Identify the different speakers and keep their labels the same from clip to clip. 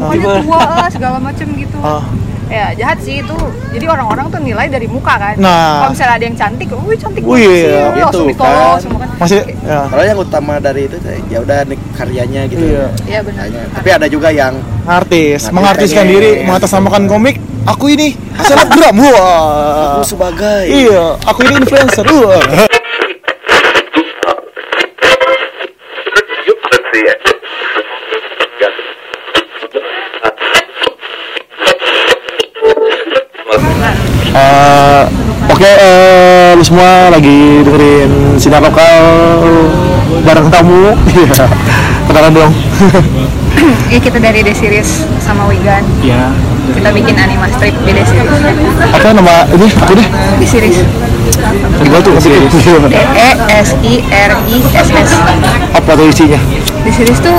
Speaker 1: pokoknya tua lah segala macem gitu
Speaker 2: Ah.
Speaker 3: Oh,
Speaker 1: ya jahat sih itu jadi orang-orang tuh nilai dari muka kan
Speaker 2: Nah.
Speaker 1: kalau misalnya ada yang cantik wih cantik
Speaker 2: Wih,
Speaker 1: banget sih
Speaker 2: iya,
Speaker 1: lu langsung
Speaker 4: gitu
Speaker 1: ditolong
Speaker 4: kan.
Speaker 1: semua kan
Speaker 2: masih ya.
Speaker 4: Kalau yang utama dari itu kayak, ya udah nih karyanya gitu.
Speaker 2: Iya.
Speaker 1: Iya, benar.
Speaker 4: Karyanya. Tapi ada juga yang
Speaker 2: artis
Speaker 4: Artis
Speaker 2: mengartiskan
Speaker 4: pengen.
Speaker 2: diri mengatasnamakan komik aku ini selebgram wah
Speaker 3: Eh,
Speaker 4: aku "Oh, sebagai
Speaker 2: iya aku ini influencer wah
Speaker 5: Let's see it.
Speaker 3: Eh, Oke, eh, lu semua lagi dengerin sinar lokal bareng tamu. Iya, kenalan dong.
Speaker 1: ya kita dari The Series sama Wigan
Speaker 3: Iya.
Speaker 1: kita bikin anima strip di The Series
Speaker 3: Apa nama ini? Aku deh.
Speaker 1: The Series
Speaker 3: Gua tuh
Speaker 4: Iya.
Speaker 3: Iya. kasih
Speaker 1: D E S I R I S S
Speaker 3: Apa tuh isinya?
Speaker 1: The Series tuh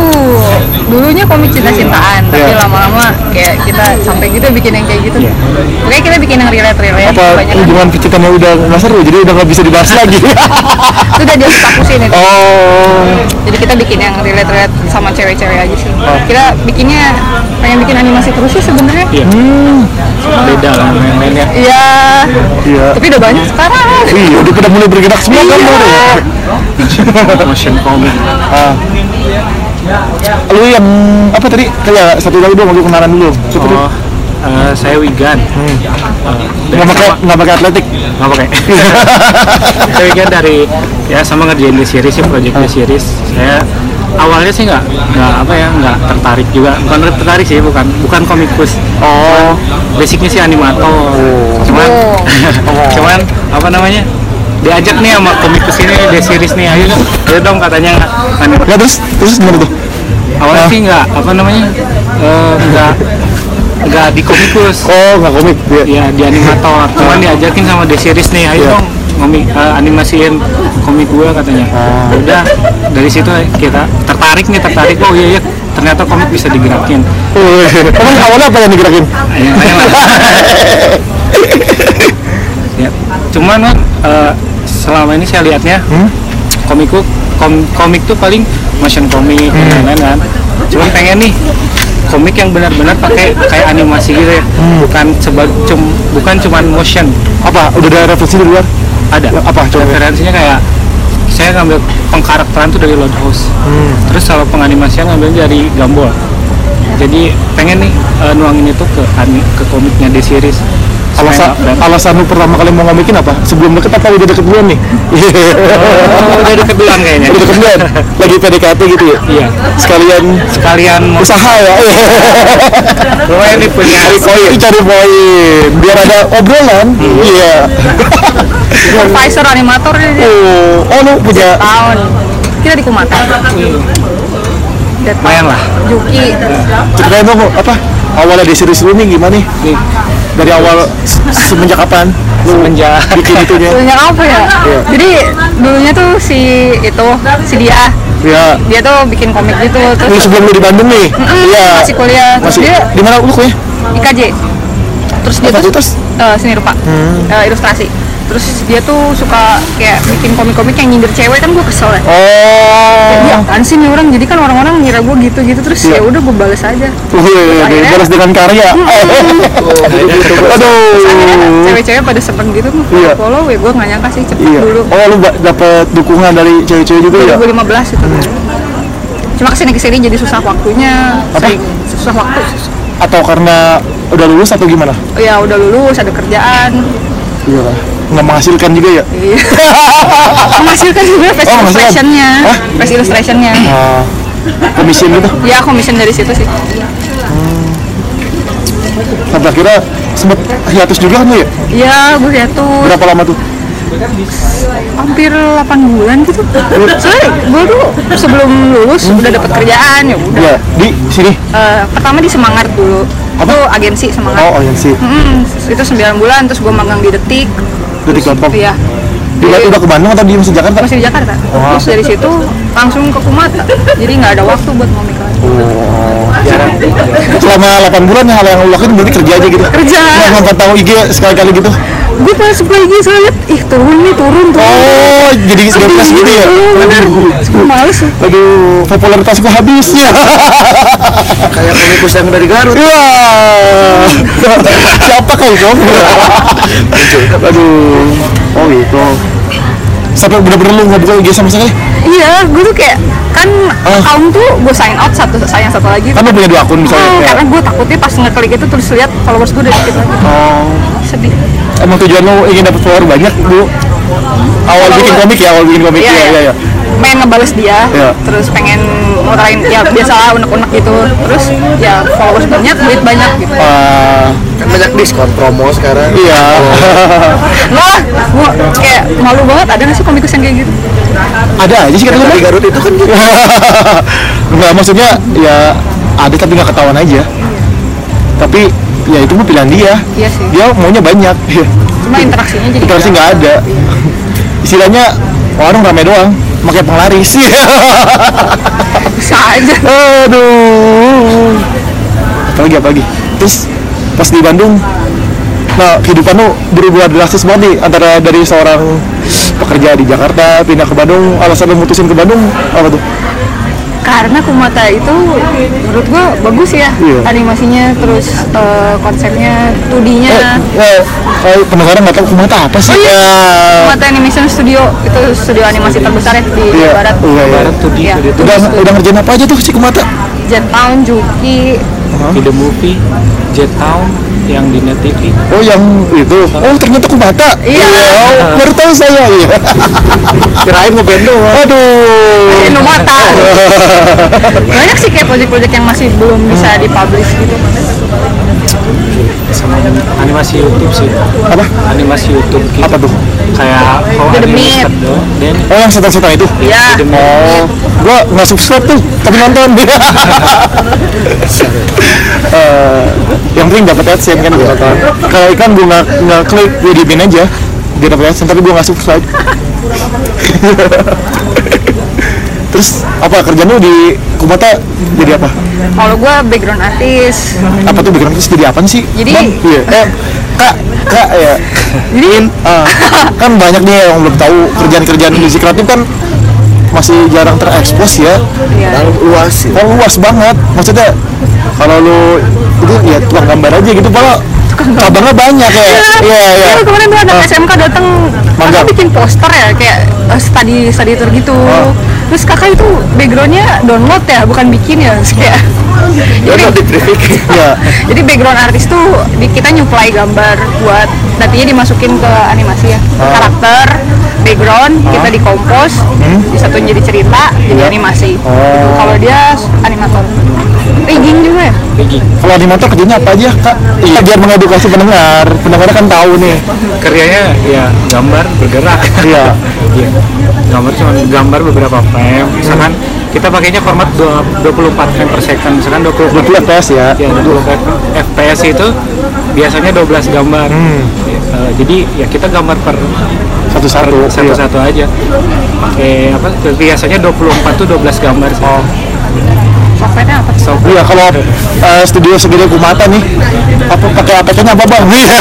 Speaker 1: dulunya komik cinta-cintaan tapi
Speaker 3: Iya.
Speaker 1: lama-lama kayak kita sampai gitu bikin yang kayak gitu pokoknya kita bikin yang relate-relate
Speaker 3: Apa
Speaker 1: banyak kan.
Speaker 3: hubungan percintaannya udah nggak seru, jadi udah nggak bisa dibahas lagi.
Speaker 1: itu udah dia fokusin itu
Speaker 3: oh,
Speaker 1: jadi kita bikin yang relate-relate sama cewek-cewek aja sih kita bikinnya pengen bikin animasi terus sih sebenarnya iya
Speaker 6: beda lah sama yang lainnya
Speaker 3: iya.
Speaker 1: tapi udah banyak sekarang
Speaker 3: Iya, udah pada mulai bergerak semua kan
Speaker 1: Iya.
Speaker 3: lu deh.
Speaker 6: motion comic
Speaker 3: Lu yang apa tadi? Kayak satu lagi dong, mau kenalan dulu. Siapa tuh? Hmm.
Speaker 6: oh eh, saya Wigan
Speaker 3: Nggak pakai nggak pakai atletik.
Speaker 6: nggak pakai saya Wigan dari ya sama ngerjain di series sih project
Speaker 3: Hmm.
Speaker 6: di series saya awalnya sih nggak nggak apa ya nggak tertarik juga bukan tertarik sih bukan bukan komikus oh basicnya sih animator
Speaker 3: Oh.
Speaker 6: cuman cuman apa namanya diajak nih sama komikus ini di series nih ayo dong ayo dong katanya anime
Speaker 3: Ya terus terus gimana tuh?
Speaker 6: awalnya sih nggak apa namanya eh, nggak nggak di komikus
Speaker 3: Oh, nggak komik. Iya.
Speaker 6: ya di animator cuman diajakin sama The Series nih ayo
Speaker 3: Iya.
Speaker 6: dong komik eh, animasiin komik gue katanya
Speaker 3: Ah.
Speaker 6: udah dari situ kita tertarik nih tertarik oh iya iya ternyata komik bisa digerakin
Speaker 3: Wih, Emang Oh, awalnya apa yang digerakin?
Speaker 6: Ayo, ayo lah. ya. cuman Wan, eh, selama ini saya lihatnya komik tuh- kom- komik tuh paling motion komik dan lain-lain kan cuman pengen nih komik yang benar-benar pakai kayak animasi gitu ya bukan seba, cum- bukan cuman motion
Speaker 3: Apa? Udah ada referensi di luar?
Speaker 6: ada
Speaker 3: Ya, apa contohnya?
Speaker 6: referensinya kayak saya ngambil pengkarakteran tuh dari Lord House
Speaker 3: Hmm.
Speaker 6: terus kalau penganimasian ngambil dari Gumball jadi pengen nih eh, nuangin itu ke ani- ke komiknya di series
Speaker 3: Alasan, alasan lu pertama kali mau ngomikin apa? Sebelum deket apa udah deket duluan nih?
Speaker 6: oh, udah deket duluan kayaknya
Speaker 3: udah deket duluan? Lagi PDKT gitu ya?
Speaker 6: iya
Speaker 3: Sekalian
Speaker 6: sekalian mau
Speaker 3: usaha Iya. ya?
Speaker 6: lumayan nih punya
Speaker 3: Cari poin Cari poin Biar ada obrolan Iya
Speaker 1: supervisor animator dia, dia
Speaker 3: Oh, oh lu punya
Speaker 1: tahun kita di Kumata
Speaker 6: lumayan lah
Speaker 1: Juki
Speaker 3: Ceritain dong apa? Awalnya di series lu nih gimana nih?
Speaker 6: nih
Speaker 3: Dari awal se- semenjak kapan? Lu
Speaker 6: semenjak
Speaker 3: bikin itunya
Speaker 1: dulunya apa ya jadi dulunya tuh si itu si dia
Speaker 3: Ya
Speaker 1: dia tuh bikin komik gitu
Speaker 3: Lu
Speaker 1: terus
Speaker 3: sebelum lu di Bandung nih? Iya
Speaker 1: Hmm, masih kuliah terus
Speaker 3: Masih
Speaker 1: dia
Speaker 3: di mana lu kuliah?
Speaker 1: IKJ terus dia tuh
Speaker 3: Fakultas?
Speaker 1: eh, seni rupa
Speaker 3: Hmm.
Speaker 1: Eh, ilustrasi terus dia tuh suka kayak bikin komik-komik yang nyindir cewek kan gue kesel ya
Speaker 3: Oh.
Speaker 1: Iya
Speaker 3: Iya.
Speaker 1: apaan sih nih orang jadi kan orang-orang ngira gue gitu-gitu terus ya udah gue bales aja
Speaker 3: Wih,
Speaker 1: akhirnya-
Speaker 3: dibalas dengan karya.
Speaker 1: akhirnya
Speaker 3: Aduh.
Speaker 1: cewek-cewek pada seneng gitu
Speaker 3: Hmm. Iya.
Speaker 1: follow ya gue nggak nyangka sih cepet
Speaker 3: Iya.
Speaker 1: dulu
Speaker 3: Oh, lu ba- dapet dukungan dari cewek-cewek juga
Speaker 1: Iya.
Speaker 3: ya?
Speaker 1: 2015 itu cuma kesini kesini jadi susah waktunya
Speaker 3: Apa?
Speaker 1: sering- susah waktu
Speaker 3: Atau karena udah lulus atau gimana?
Speaker 1: ya udah lulus ada kerjaan
Speaker 3: Iya lah. Nggak menghasilkan juga ya?
Speaker 1: Iya. menghasilkan juga face kan
Speaker 3: Oh, menghasilkan.
Speaker 1: illustrationnya
Speaker 3: Hah?
Speaker 1: face illustrationnya
Speaker 3: Nah, komisian gitu.
Speaker 1: ya komisen dari situ sih
Speaker 3: Sampai akhirnya sempet hiatus juga kan lu ya?
Speaker 1: ya gue tuh
Speaker 3: Berapa lama tuh?
Speaker 1: hampir 8 bulan gitu soalnya gue tuh sebelum lulus udah dapet kerjaan ya udah
Speaker 3: Ya, di sini.
Speaker 1: Eh, pertama di Semangat dulu
Speaker 3: Apa?
Speaker 1: itu agensi Semangat
Speaker 3: Oh, agensi.
Speaker 1: Mm-mm, itu 9 bulan terus gue magang di Detik
Speaker 3: Detik Lampung.
Speaker 1: ya
Speaker 3: Di udah ke Bandung atau di masih Jakarta?
Speaker 1: masih di Jakarta
Speaker 3: Oh.
Speaker 1: terus dari situ langsung ke Kumata jadi nggak ada waktu buat ngomik lagi
Speaker 3: Selama 8 bulan hal yang lu lakuin berarti kerja aja gitu.
Speaker 1: Kerja. Iya.
Speaker 3: Nggak nonton tahu IG sekali-kali gitu.
Speaker 1: gue pas play gitu saya liat ih turun nih turun turun
Speaker 3: Oh, jadi
Speaker 1: Aduh,
Speaker 3: ngeflash gitu ya?
Speaker 1: turun, bener gue males
Speaker 3: Aduh, popularitas gua habis ya.
Speaker 4: kayak komikus yang dari Garut
Speaker 3: Iya. Siapa kau kamu? Aduh. Oh gitu. Sampai bener-bener lu nggak buka IG sama sekali?
Speaker 1: iya gue tuh kayak kan
Speaker 3: Ah.
Speaker 1: account tuh gue sign out satu sayang satu lagi
Speaker 3: Kan lu punya dua akun misalnya.
Speaker 1: Hmm,
Speaker 3: kayak-
Speaker 1: karena gue takutnya pas ngeklik itu terus lihat followers gue udah dikit lagi
Speaker 3: Oh.
Speaker 1: sedih
Speaker 3: Emang tujuan lu ingin dapat follower banyak
Speaker 4: Iya,
Speaker 3: dulu? Awal bikin komik ya, awal bikin komik ya, ya, ya.
Speaker 1: pengen ngebales dia
Speaker 3: Iya.
Speaker 1: terus pengen ngutarain ya biasa lah unek-unek gitu terus ya followers banyak duit banyak gitu
Speaker 3: Ah,
Speaker 4: kan banyak diskon promo sekarang
Speaker 3: iya.
Speaker 1: lah gue kayak malu banget ada nggak sih komikus yang kayak gitu
Speaker 3: Ada aja sih kata lu.
Speaker 4: dari
Speaker 3: Bang.
Speaker 4: Garut itu kan gitu
Speaker 3: Enggak maksudnya ya ada tapi nggak ketahuan aja. Tapi ya itu mah pilihan dia.
Speaker 1: Iya sih.
Speaker 3: Dia maunya banyak.
Speaker 1: cuma interaksinya jadi
Speaker 3: Terus nggak ada. Istilahnya warung rame doang, pakai penglaris.
Speaker 1: bisa aja
Speaker 3: Aduh. Apalagi apalagi. Terus pas di Bandung, nah kehidupan lu berubah drastis banget nih antara dari seorang pekerja di Jakarta pindah ke Bandung alasan lu mutusin ke Bandung apa tuh?
Speaker 1: karena Kumata itu menurut gue bagus ya
Speaker 3: Iya.
Speaker 1: animasinya terus eh, konsepnya 2D-nya
Speaker 3: Eh, eh, eh, pendengaran nggak tahu kumata apa sih?
Speaker 1: Iya. Oh, iya. Kumata Animation Studio itu studio animasi terbesar ya di
Speaker 3: Iya,
Speaker 1: Jawa Barat
Speaker 3: iya, iya.
Speaker 6: Barat tuh di
Speaker 1: Iya.
Speaker 6: di-
Speaker 3: Udah udah ngerjain apa aja tuh si kumata?
Speaker 1: Jettown, Juki
Speaker 6: di the movie Jet Town yang di Net TV.
Speaker 3: Oh yang itu. Oh ternyata kumata.
Speaker 1: Iya.
Speaker 3: Oh, baru tahu saya. Iya.
Speaker 2: Kirain ngeband doang.
Speaker 3: Aduh.
Speaker 1: Numata banyak sih kayak project-project yang masih belum bisa dipublish gitu
Speaker 6: sama animasi YouTube sih.
Speaker 3: Apa?
Speaker 6: Animasi YouTube gitu.
Speaker 3: Apa tuh?
Speaker 6: Kayak oh, kalau
Speaker 1: The Meat.
Speaker 6: dan
Speaker 3: Oh yang setan-setan itu.
Speaker 1: ya
Speaker 3: Oh, gua nggak subscribe tuh, tapi nonton. Eh, yang penting dapat AdSense kan gua nonton. Kalau iklan gua nggak nggak klik, gua diemin aja. Dia dapat AdSense, tapi gua nggak subscribe. Terus apa kerjaan lu di Kumata jadi apa?
Speaker 1: kalau gue background artis
Speaker 3: Apa tuh background terus jadi apa sih?
Speaker 1: Jadi-
Speaker 3: Bang? Iya. Eh, kak, kak ya. Jadi, kan banyak nih yang belum tahu kerjaan-kerjaan musik kreatif kan masih jarang terekspos ya.
Speaker 1: ya
Speaker 4: Lalu luas sih
Speaker 3: Oh, luas banget. Maksudnya kalau lu itu ya tukang gambar aja gitu, kalau cabangnya banyak ya. Iya, iya.
Speaker 1: Ya, kemarin tuh anak SMK datang
Speaker 3: Mangga.
Speaker 1: kakak bikin poster ya kayak eh, study study tour gitu
Speaker 3: Ah.
Speaker 1: terus kakak itu backgroundnya download ya bukan bikin ya terus kayak jadi, Ya.
Speaker 3: Iya.
Speaker 1: jadi background artis tuh di- kita nyuplai gambar buat nantinya dimasukin ke animasi ya
Speaker 3: Ah.
Speaker 1: karakter background kita dikompos
Speaker 3: Hmm?
Speaker 1: disatuin jadi cerita jadi
Speaker 3: Iya.
Speaker 1: animasi
Speaker 3: Ah.
Speaker 1: Gitu. kalau dia animator rigging juga ya
Speaker 6: Peggy.
Speaker 3: Kalau animator kerjanya apa aja, Kak? Iya, biar mengedukasi pendengar. Pendengar kan tahu nih.
Speaker 6: Karyanya ya gambar bergerak.
Speaker 3: Iya.
Speaker 6: Iya. Gambar cuma gambar beberapa frame. Misalkan kita pakainya format dua- 24 frame per second. Misalkan 24
Speaker 3: Itu FPS ya.
Speaker 6: Ya, 20 FPS itu biasanya 12 gambar. Eh, jadi ya kita gambar per
Speaker 3: Satu-satu. Iya.
Speaker 6: per satu-satu aja. Pakai apa? Biasanya 24 tuh 12 gambar. Oh.
Speaker 1: softwarenya apa sih?
Speaker 3: Iya, kalau eh, studio segede Kumata nih, apa pakai APK-nya apa, Bang? Iya,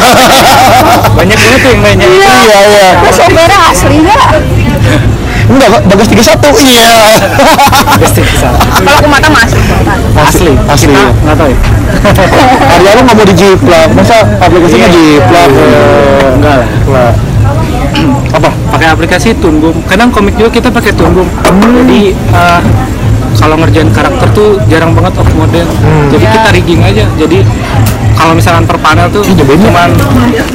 Speaker 6: Banyak banget tuh yang mainnya.
Speaker 3: iya. iya.
Speaker 1: Terus softwarenya asli nggak?
Speaker 3: Enggak, Kak. Bagas 31. Iya.
Speaker 6: Pasti bisa.
Speaker 1: Kalau aku mata masih.
Speaker 6: Asli.
Speaker 3: Asli.
Speaker 6: Kita nggak tahu ya.
Speaker 3: Karya lu nggak mau dijiplak. Masa aplikasinya dijiplak? Eh,
Speaker 6: Enggak lah.
Speaker 3: Nah, apa?
Speaker 6: pakai aplikasi Tunggum. Kadang komik juga kita pakai Tunggum.
Speaker 3: Hmm.
Speaker 6: Jadi eh, kalau ngerjain karakter tuh jarang banget off model.
Speaker 3: Hmm.
Speaker 6: Jadi kita
Speaker 1: Ya.
Speaker 6: rigging aja. Jadi kalau misalkan per panel tuh
Speaker 3: udah banyak.
Speaker 6: cuman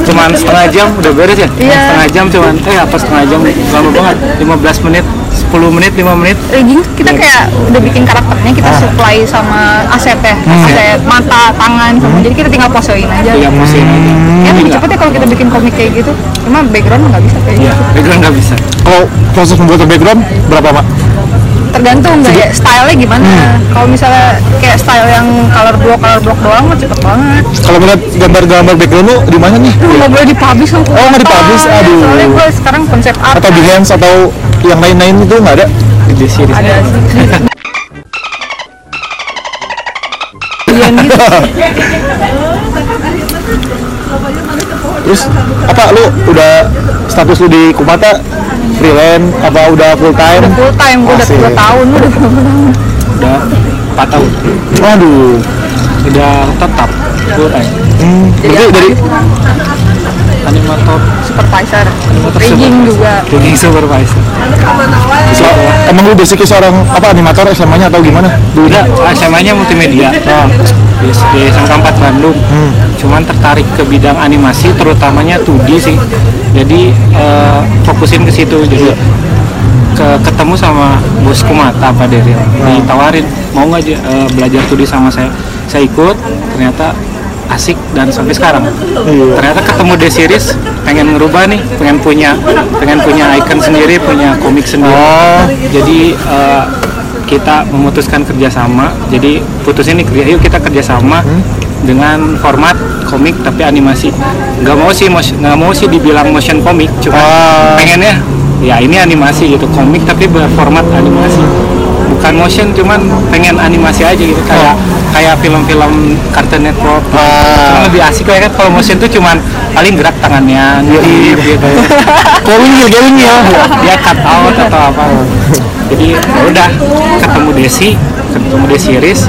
Speaker 6: cuman setengah jam udah beres ya.
Speaker 1: Iya.
Speaker 6: Setengah jam cuman eh apa setengah jam lama banget. 15 menit, 10 menit, 5 menit.
Speaker 1: Rigging kita
Speaker 3: Iya.
Speaker 1: kayak udah bikin karakternya kita
Speaker 3: Ah.
Speaker 1: supply sama aset ya,
Speaker 3: Hmm.
Speaker 1: aset mata, tangan, sama. Jadi kita tinggal posein aja.
Speaker 6: Iya, pusing.
Speaker 3: Hmm.
Speaker 1: Ya lebih cepet ya kalau kita bikin komik kayak gitu. Cuma background nggak bisa kayak
Speaker 6: Iya,
Speaker 1: gitu.
Speaker 6: background nggak bisa.
Speaker 3: Kalau proses membuat background berapa, Mak?
Speaker 1: Tergantung gaya stylenya gimana.
Speaker 3: Hmm.
Speaker 1: Kalau misalnya kayak style yang color block, color block doang mah cepet banget.
Speaker 3: Kalau melihat gambar-gambar background lu di mana nih?
Speaker 1: Duh, nggak boleh dipublish aku.
Speaker 3: Oh, nggak dipublish, aduh.
Speaker 1: Soalnya gue sekarang konsep art. kan.
Speaker 3: Atau Behance atau yang lain-lain itu nggak ada?
Speaker 6: Di series.
Speaker 1: Ada sih. Iya gitu.
Speaker 3: terus apa lu udah status lu di Kumata freelance apa udah full time
Speaker 1: full time gue udah
Speaker 3: Asik.
Speaker 1: 2 tahun udah
Speaker 6: udah 4 tahun
Speaker 3: waduh
Speaker 6: udah tetap full time
Speaker 3: berarti dari
Speaker 6: animator
Speaker 1: supervisor
Speaker 6: Tetap
Speaker 1: rigging
Speaker 6: supervisor.
Speaker 1: juga
Speaker 6: rigging supervisor
Speaker 3: so, emang lu basicnya seorang apa animator SMA-nya atau gimana dulu
Speaker 6: udah SMA nya multimedia di, di SMK 4 Bandung cuman tertarik ke bidang animasi terutamanya 2D sih jadi eh, fokusin ke situ jadi ke- ketemu sama bosku mata Pak Deril ditawarin mau nggak je- eh, belajar 2D sama saya saya ikut ternyata asik dan sampai sekarang ternyata ketemu The Series pengen ngerubah nih pengen punya pengen punya icon sendiri punya komik sendiri jadi eh, kita memutuskan kerjasama jadi putusin nih kerja yuk kita kerjasama dengan format komik tapi animasi nggak mau sih mos- nggak mau sih dibilang motion komik cuma pengennya ya ini animasi gitu komik tapi berformat animasi bukan motion cuman pengen animasi aja gitu kayak kayak film-film Cartoon Network Cuman lebih asik kayak kan kalau motion tuh cuman paling gerak tangannya ngedip gitu
Speaker 3: calling ya calling ya
Speaker 6: dia cut out atau apa jadi ya udah ketemu Desi ketemu Desi Iris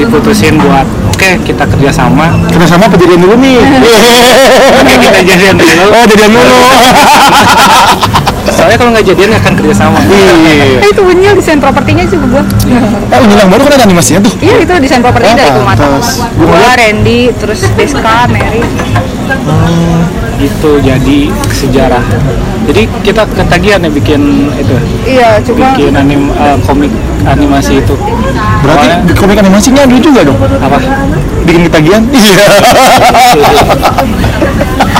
Speaker 6: diputusin buat oke kita kerjasama
Speaker 3: kita sama apa jadian dulu nih
Speaker 6: oke kita jadian dulu
Speaker 3: oh jadian dulu
Speaker 6: soalnya kalau nggak jadian akan kerjasama
Speaker 3: iya
Speaker 1: eh itu benyil desain propertinya juga gue
Speaker 3: eh undang baru kan ada animasinya tuh
Speaker 1: iya itu desain propertinya
Speaker 3: Oh,
Speaker 1: dari Kumata
Speaker 3: pantas. Gua
Speaker 1: gue
Speaker 3: ngeliat-
Speaker 1: Randy terus Deska Mary
Speaker 6: itu Gitu, jadi sejarah jadi kita ketagihan ya bikin itu
Speaker 1: iya cuma
Speaker 6: bikin anim eh, komik animasi itu
Speaker 3: berarti
Speaker 6: Awalnya-
Speaker 3: di komik animasinya ada juga dong
Speaker 6: apa
Speaker 3: bikin ketagihan iya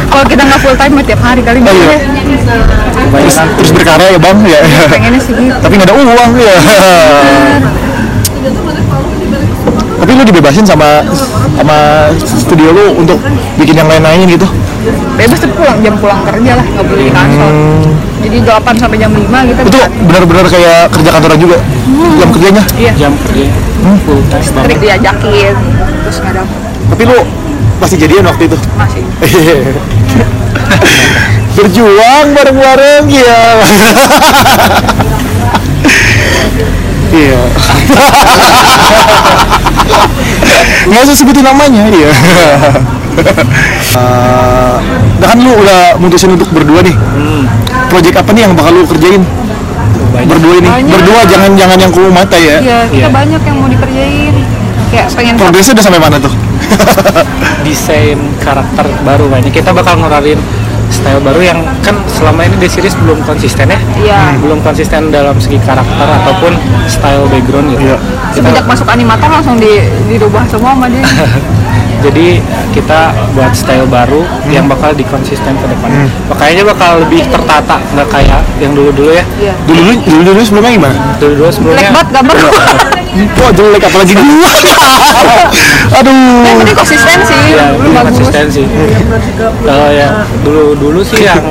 Speaker 1: kalau kita nggak full time tiap hari kali
Speaker 3: Oh, iya.
Speaker 1: gitu ya.
Speaker 3: terus,
Speaker 6: kebanyakan
Speaker 3: terus berkarya ya bang ya
Speaker 1: pengennya sih gitu
Speaker 3: tapi nggak ada uang ya tapi lu dibebasin sama sama studio lu untuk bikin yang lain-lain gitu
Speaker 1: bebas tuh pulang jam pulang kerja lah nggak boleh di kantor
Speaker 6: Hmm.
Speaker 1: jadi 8 sampai jam 5 gitu
Speaker 3: itu benar-benar kayak kerja kantoran juga jam kerjanya
Speaker 6: jam kerja full time banget.
Speaker 1: trik diajakin terus nggak dapet
Speaker 3: tapi lu masih jadian waktu itu
Speaker 1: masih
Speaker 3: berjuang bareng-bareng ya iya nggak usah sebutin namanya iya Eh, nah kan lu udah mutusin untuk berdua nih Project apa nih yang bakal lu kerjain berdua ini
Speaker 1: Banyak.
Speaker 3: berdua jangan jangan yang kumu mata ya
Speaker 1: iya kita
Speaker 6: Iya.
Speaker 1: banyak yang mau dikerjain kayak pengen
Speaker 3: progresnya udah sampai mana tuh
Speaker 6: desain karakter baru kayaknya kita bakal ngerarin style baru yang kan selama ini di series belum konsisten ya
Speaker 1: Iya.
Speaker 6: belum konsisten dalam segi karakter ataupun style background gitu
Speaker 3: Iya.
Speaker 6: kita,
Speaker 1: semenjak masuk animator langsung di dirubah semua sama dia
Speaker 6: jadi kita buat style baru yang bakal dikonsisten ke depan makanya bakal lebih tertata nggak kayak yang dulu dulu ya
Speaker 1: iya
Speaker 3: dulu dulu dulu sebelumnya gimana
Speaker 6: dulu dulu
Speaker 1: jelek
Speaker 6: sebelumnya
Speaker 1: banget gambar
Speaker 6: Oh.
Speaker 3: Wah jelek apalagi gua
Speaker 1: yang
Speaker 3: Aduh
Speaker 1: penting konsisten sih
Speaker 6: Iya,
Speaker 1: lu
Speaker 6: lebih
Speaker 1: bagus
Speaker 6: konsisten sih. Kalau ya dulu dulu sih yang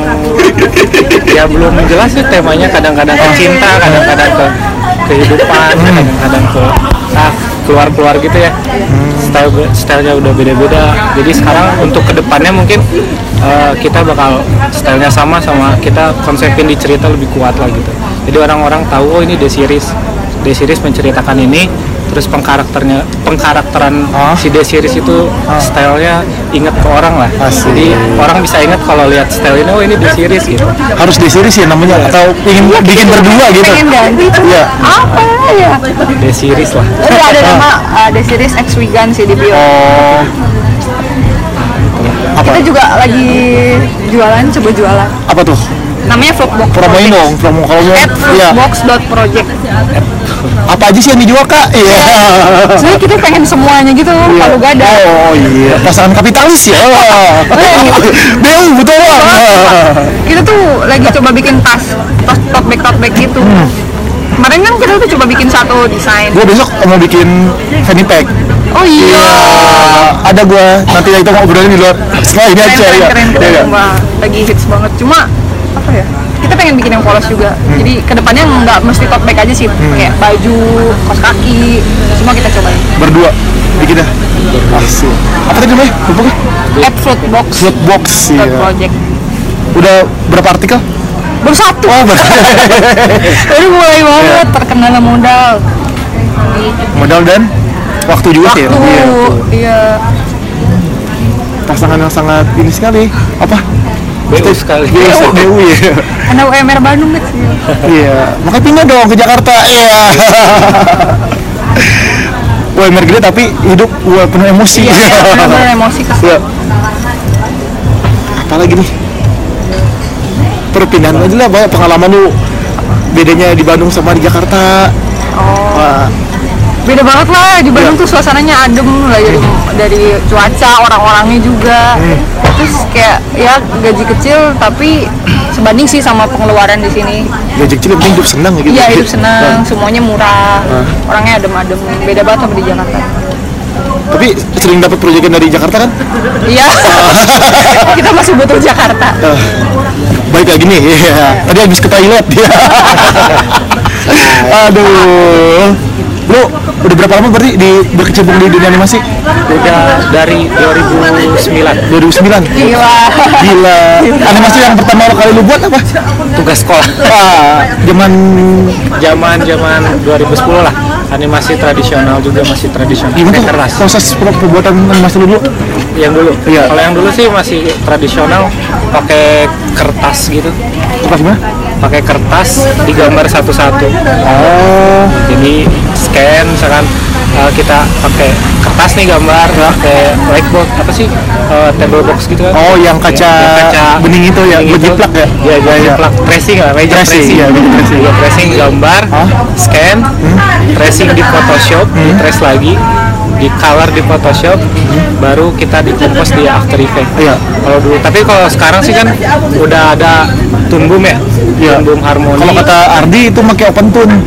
Speaker 6: ya belum jelas sih temanya kadang-kadang ke cinta, kadang-kadang ke kehidupan, kadang-kadang ke ah, keluar-keluar gitu ya. Style stylenya udah beda-beda. Jadi sekarang untuk kedepannya mungkin eh, kita bakal stylenya sama sama kita konsepin di cerita lebih kuat lah gitu. Jadi orang-orang tahu oh ini the series, the series menceritakan ini terus pengkarakternya pengkarakteran
Speaker 3: Oh.
Speaker 6: si The Series itu stylenya inget ke orang lah
Speaker 3: Asik.
Speaker 6: jadi orang bisa inget kalau lihat style ini oh ini The Series gitu
Speaker 3: harus di series ya namanya atau ingin bikin berdua gitu
Speaker 1: Iya, pengen ganti tuh
Speaker 3: Iya.
Speaker 1: apa ya
Speaker 6: The Series lah
Speaker 1: udah ada nama uh, The Series X Wigan sih di bio
Speaker 3: oh
Speaker 1: kita juga lagi jualan coba jualan
Speaker 3: apa tuh
Speaker 1: namanya Vlogbox
Speaker 3: promoin dong promo kalau mau
Speaker 1: at
Speaker 3: iya
Speaker 1: vlogbox.project
Speaker 3: apa aja sih yang dijual kak iya
Speaker 1: Soalnya kita pengen semuanya gitu, palu gada
Speaker 3: oh iya pasangan kapitalis ya
Speaker 1: Iya.
Speaker 3: bu betul Bang.
Speaker 1: Kita tuh lagi coba bikin tas, tas tote bag, tote bag gitu
Speaker 3: Hmm.
Speaker 1: Kemarin kan kita tuh coba bikin satu desain
Speaker 3: gua besok mau bikin fanny pack
Speaker 1: Oh iya,
Speaker 3: Ah, ada gua nanti itu mau obrolan di luar setelah ini
Speaker 1: keren,
Speaker 3: aja
Speaker 1: keren,
Speaker 3: ya
Speaker 1: keren, keren,
Speaker 3: Iya, iya.
Speaker 1: Mbak. Lagi hits banget, cuma apa ya kita sebenarnya pengen bikin yang polos juga jadi kedepannya nggak mesti tote bag aja sih kayak baju kos kaki semua kita cobain
Speaker 3: berdua bikin dah asik apa tadi namanya lupa gue
Speaker 1: at Fruitbox
Speaker 3: Fruit box
Speaker 1: Fruit
Speaker 3: iya.
Speaker 1: project
Speaker 3: udah berapa artikel
Speaker 1: baru satu
Speaker 3: oh ber-
Speaker 1: baru mulai banget terkenal sama modal Iya.
Speaker 3: modal dan waktu juga sih
Speaker 1: waktu
Speaker 3: ya Iya.
Speaker 1: iya
Speaker 3: pasangan yang sangat ini sekali apa
Speaker 6: BU sekali
Speaker 3: BU BU ya
Speaker 1: karena UMR Bandung gitu
Speaker 3: iya makanya pindah dong ke Jakarta iya UMR gede tapi hidup wah, penuh emosi
Speaker 1: iya iya, benar-benar emosi kesel
Speaker 3: Iya. Apalagi nih? Perpindahan aja lah banyak pengalaman lu bedanya di Bandung sama di Jakarta. Wah,
Speaker 1: beda banget lah di Bandung tuh suasananya adem lah dari, dari cuaca orang-orangnya juga terus kayak ya gaji kecil tapi sebanding sih sama pengeluaran di sini
Speaker 3: gaji kecil yang penting hidup senang ya gitu.
Speaker 1: iya hidup senang semuanya murah orangnya adem-adem beda banget sama di Jakarta
Speaker 3: Tapi sering dapat proyekan dari Jakarta kan?
Speaker 1: iya kita masih butuh Jakarta
Speaker 3: Baik lagi nih. Iya. Tadi habis ke toilet dia. Aduh. Lu udah berapa lama berarti di berkecimpung di dunia animasi?
Speaker 6: udah dari 2009
Speaker 3: 2009.
Speaker 1: gila
Speaker 3: Gila. Animasi yang pertama kali lu buat apa?
Speaker 6: tugas sekolah
Speaker 3: Wah, zaman
Speaker 6: zaman zaman 2010 lah animasi tradisional juga masih tradisional
Speaker 3: gimana
Speaker 6: kayak
Speaker 3: tuh
Speaker 6: keras
Speaker 3: proses per- perbuatan animasi lu dulu
Speaker 6: yang dulu
Speaker 3: Iya.
Speaker 6: kalau yang dulu sih masih tradisional pakai kertas gitu
Speaker 3: apa gimana?
Speaker 6: pakai kertas digambar satu-satu Eh,
Speaker 3: Oh,
Speaker 6: jadi scan misalkan eh, kita pakai kertas nih gambar pakai whiteboard apa sih eh, table box gitu kan
Speaker 3: oh yang kaca,
Speaker 6: Yang
Speaker 3: bening itu ya,
Speaker 6: bening itu.
Speaker 3: berjiplak ya?
Speaker 6: Iya,
Speaker 3: iya, iya.
Speaker 6: jiplak tracing lah meja
Speaker 3: Tracing,
Speaker 6: tracing
Speaker 3: iya, meja tracing.
Speaker 6: Iya, tracing gambar
Speaker 3: Hah? Hmm?
Speaker 6: scan tracing di Photoshop di trace lagi di color di Photoshop baru kita dikompos di After Effects
Speaker 3: Hmm? Iya.
Speaker 6: kalau dulu tapi kalau sekarang sih kan udah ada Tunbum ya
Speaker 3: Iya.
Speaker 6: Tunbum Harmoni
Speaker 3: Kalau kata Ardi itu pakai open tune.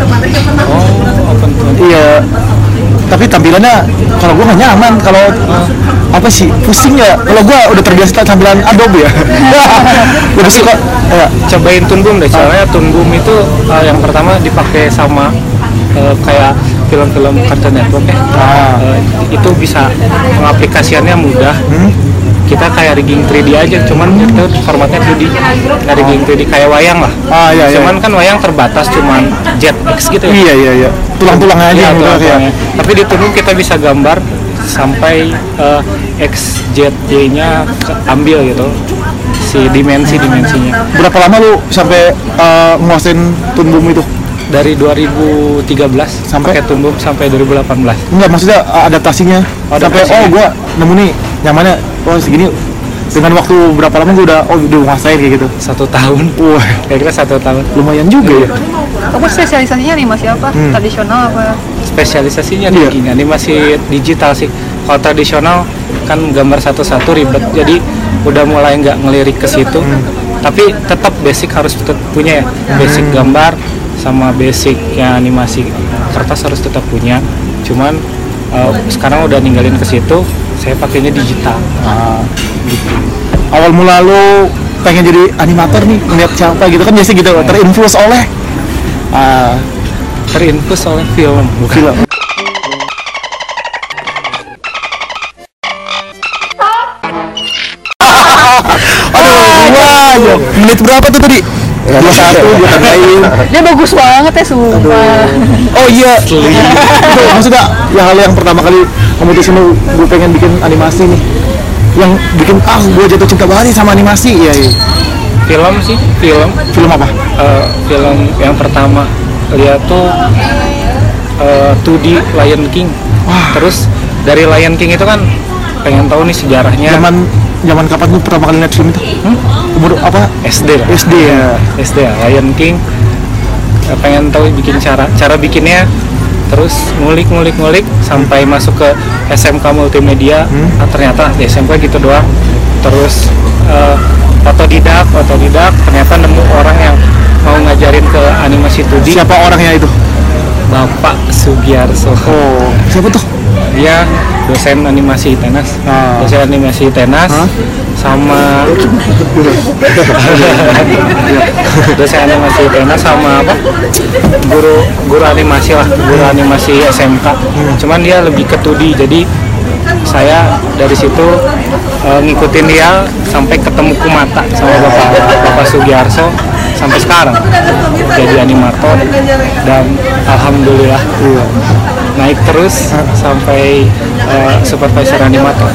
Speaker 6: oh, open Tunbum.
Speaker 3: Iya. Tapi tampilannya kalau gua nggak nyaman kalau apa sih pusing ya kalau gua udah terbiasa tampilan Adobe ya lebih suka ya.
Speaker 6: cobain Tunbum deh soalnya Tunbum itu uh, yang pertama dipakai sama uh, kayak film-film Cartoon Network ya
Speaker 3: Ah.
Speaker 6: Uh, itu bisa pengaplikasiannya mudah
Speaker 3: Hmm?
Speaker 6: kita kayak rigging 3D aja cuman itu formatnya 2D nah, rigging 3D kayak wayang lah
Speaker 3: Ah, iya, iya.
Speaker 6: cuman kan wayang terbatas cuman jetx gitu ya
Speaker 3: iya iya iya tulang-tulang aja gitu.
Speaker 6: Iya,
Speaker 3: yang udah kayak
Speaker 6: tulang-tulangnya. tapi di Tunbum kita bisa gambar sampai uh, X, Z, Y-nya ambil gitu si dimensi-dimensinya
Speaker 3: berapa lama lu sampai eh, nguasain tune boom itu
Speaker 6: dari 2013
Speaker 3: Sampai?
Speaker 6: pakai tumbuh sampai 2018
Speaker 3: Enggak maksudnya uh, adaptasinya
Speaker 6: Oh,
Speaker 3: sampai oh
Speaker 6: adaptasinya.
Speaker 3: gua nemu nih nyamannya oh segini dengan waktu berapa lama gua udah oh udah nguasain kayak gitu.
Speaker 6: satu tahun
Speaker 3: Wah,
Speaker 6: kira-kira satu tahun
Speaker 3: lumayan juga ya.
Speaker 1: kamu spesialisasinya nih masih apa tradisional apa
Speaker 6: spesialisasinya
Speaker 3: Iya.
Speaker 6: di ini masih digital sih kalau tradisional kan gambar satu-satu ribet jadi udah mulai nggak ngelirik ke situ
Speaker 3: Hmm.
Speaker 6: tapi tetap basic harus tetap punya ya basic
Speaker 3: Hmm.
Speaker 6: gambar sama basic ya animasi kertas harus tetap punya cuman eh, sekarang udah ninggalin ke situ saya pakainya digital
Speaker 3: Ah. Awal mula lu pengen jadi animator nih ngeliat siapa gitu kan biasa gitu terinfluence oleh ah,
Speaker 6: terinfus oleh film bukan
Speaker 3: film. Aduh, wah, ya. menit berapa tuh tadi? Dua satu, dua
Speaker 1: dia bagus banget ya sumpah
Speaker 3: Oh iya. Itu maksudnya yang hal yang pertama kali memutusin lu gue pengen bikin animasi nih. Yang bikin ah gue jatuh cinta banget nih sama animasi. Iya, iya.
Speaker 6: film sih film
Speaker 3: Film apa?
Speaker 6: Eh, film yang pertama lihat tuh eh, 2D Lion King. Terus dari Lion King itu kan pengen tahu nih sejarahnya
Speaker 3: Zaman zaman kapan tuh pertama kali lihat film itu? Umur apa?
Speaker 6: SD lah.
Speaker 3: SD ya.
Speaker 6: SD ya, Lion King. Eh, pengen tahu bikin cara cara bikinnya terus ngulik ngulik ngulik sampai masuk ke SMK multimedia Ah, ternyata di SMK gitu doang terus eh, otodidak otodidak ternyata nemu orang yang mau ngajarin ke animasi 2D
Speaker 3: Siapa orangnya itu?
Speaker 6: Bapak Sugiarso
Speaker 3: Oh, siapa tuh?
Speaker 6: dia dosen animasi Tenas
Speaker 3: Ah.
Speaker 6: dosen animasi Tenas sama dosen animasi Tenas sama apa guru guru animasi lah guru animasi SMK cuman dia lebih ke 2D jadi saya dari situ eh, ngikutin dia sampai ketemu Kumata sama bapak bapak Sugiarso sampai sekarang jadi animator dan alhamdulillah iya, naik terus sampai eh, supervisor animator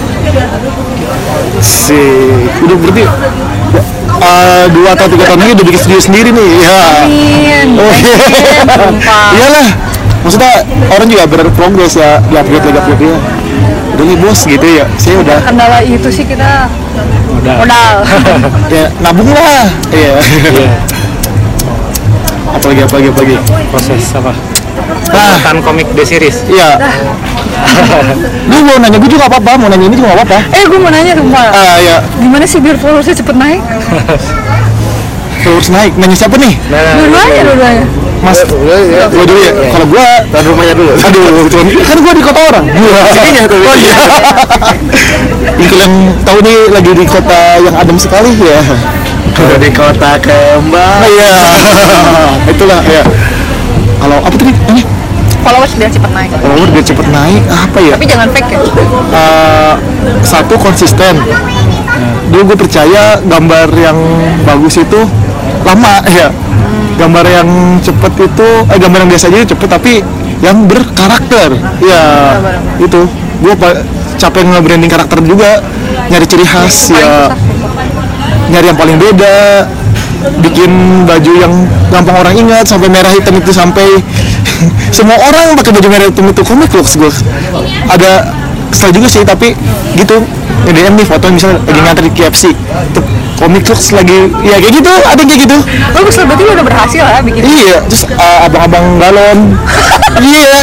Speaker 3: Si, udah berarti eh, dua atau tiga tahun lagi udah bikin studio sendiri nih. Ya.
Speaker 1: Amin. Pengen, sumpah.
Speaker 3: Oh, iya. Iyalah. Maksudnya orang juga berprogres ya, di upgrade lagi upgrade ya. Udah nih bos gitu ya, saya udah
Speaker 1: Kendala itu sih kita
Speaker 6: udah
Speaker 1: modal.
Speaker 3: ya nabung lah. Iya.
Speaker 6: iya.
Speaker 3: apalagi apalagi apalagi.
Speaker 6: proses apa pembuatan komik the series
Speaker 3: Iya. Lu mau nanya gue juga nggak apa-apa, mau nanya ini juga nggak apa-apa.
Speaker 1: eh gue mau nanya sumpah.
Speaker 3: Ah ya,
Speaker 1: Gimana sih biar followersnya cepet naik?
Speaker 3: terus naik. Nanya siapa nih?
Speaker 1: Dua-duanya, dua-duanya.
Speaker 3: Mas,
Speaker 4: ya.
Speaker 3: gue dulu ya. iya. Kalau gue,
Speaker 4: Tahan rumahnya dulu.
Speaker 3: aduh, cuman kan gue di kota orang. Sini
Speaker 4: Sininya tuh.
Speaker 3: Oh iya. Yang kalian tahu nih lagi di kota yang adem sekali ya.
Speaker 4: Kalau di kota kembang.
Speaker 3: Iya. Itulah ya. Kalau apa tadi? Eh,
Speaker 1: Followers biar cepet naik.
Speaker 3: follower biar cepet naik apa ya?
Speaker 1: Tapi jangan fake ya.
Speaker 3: Eh, satu konsisten. Dulu gue percaya gambar yang bagus itu lama ya. Gambar yang cepet itu, eh gambar yang biasa aja cepet tapi yang berkarakter. Ya itu. Gue capek nge-branding karakter juga, nyari ciri khas ya, nyari yang paling beda, bikin baju yang gampang orang ingat sampai merah hitam itu sampai semua orang pakai baju merah hitam itu komik looks gue ada kesel juga sih tapi gitu DM nih foto misalnya lagi nganter di KFC tuh komik looks lagi ya kayak gitu ada yang kayak gitu
Speaker 1: Bagus lah, berarti lu udah berhasil lah bikin.
Speaker 3: iya terus uh, abang-abang galon iya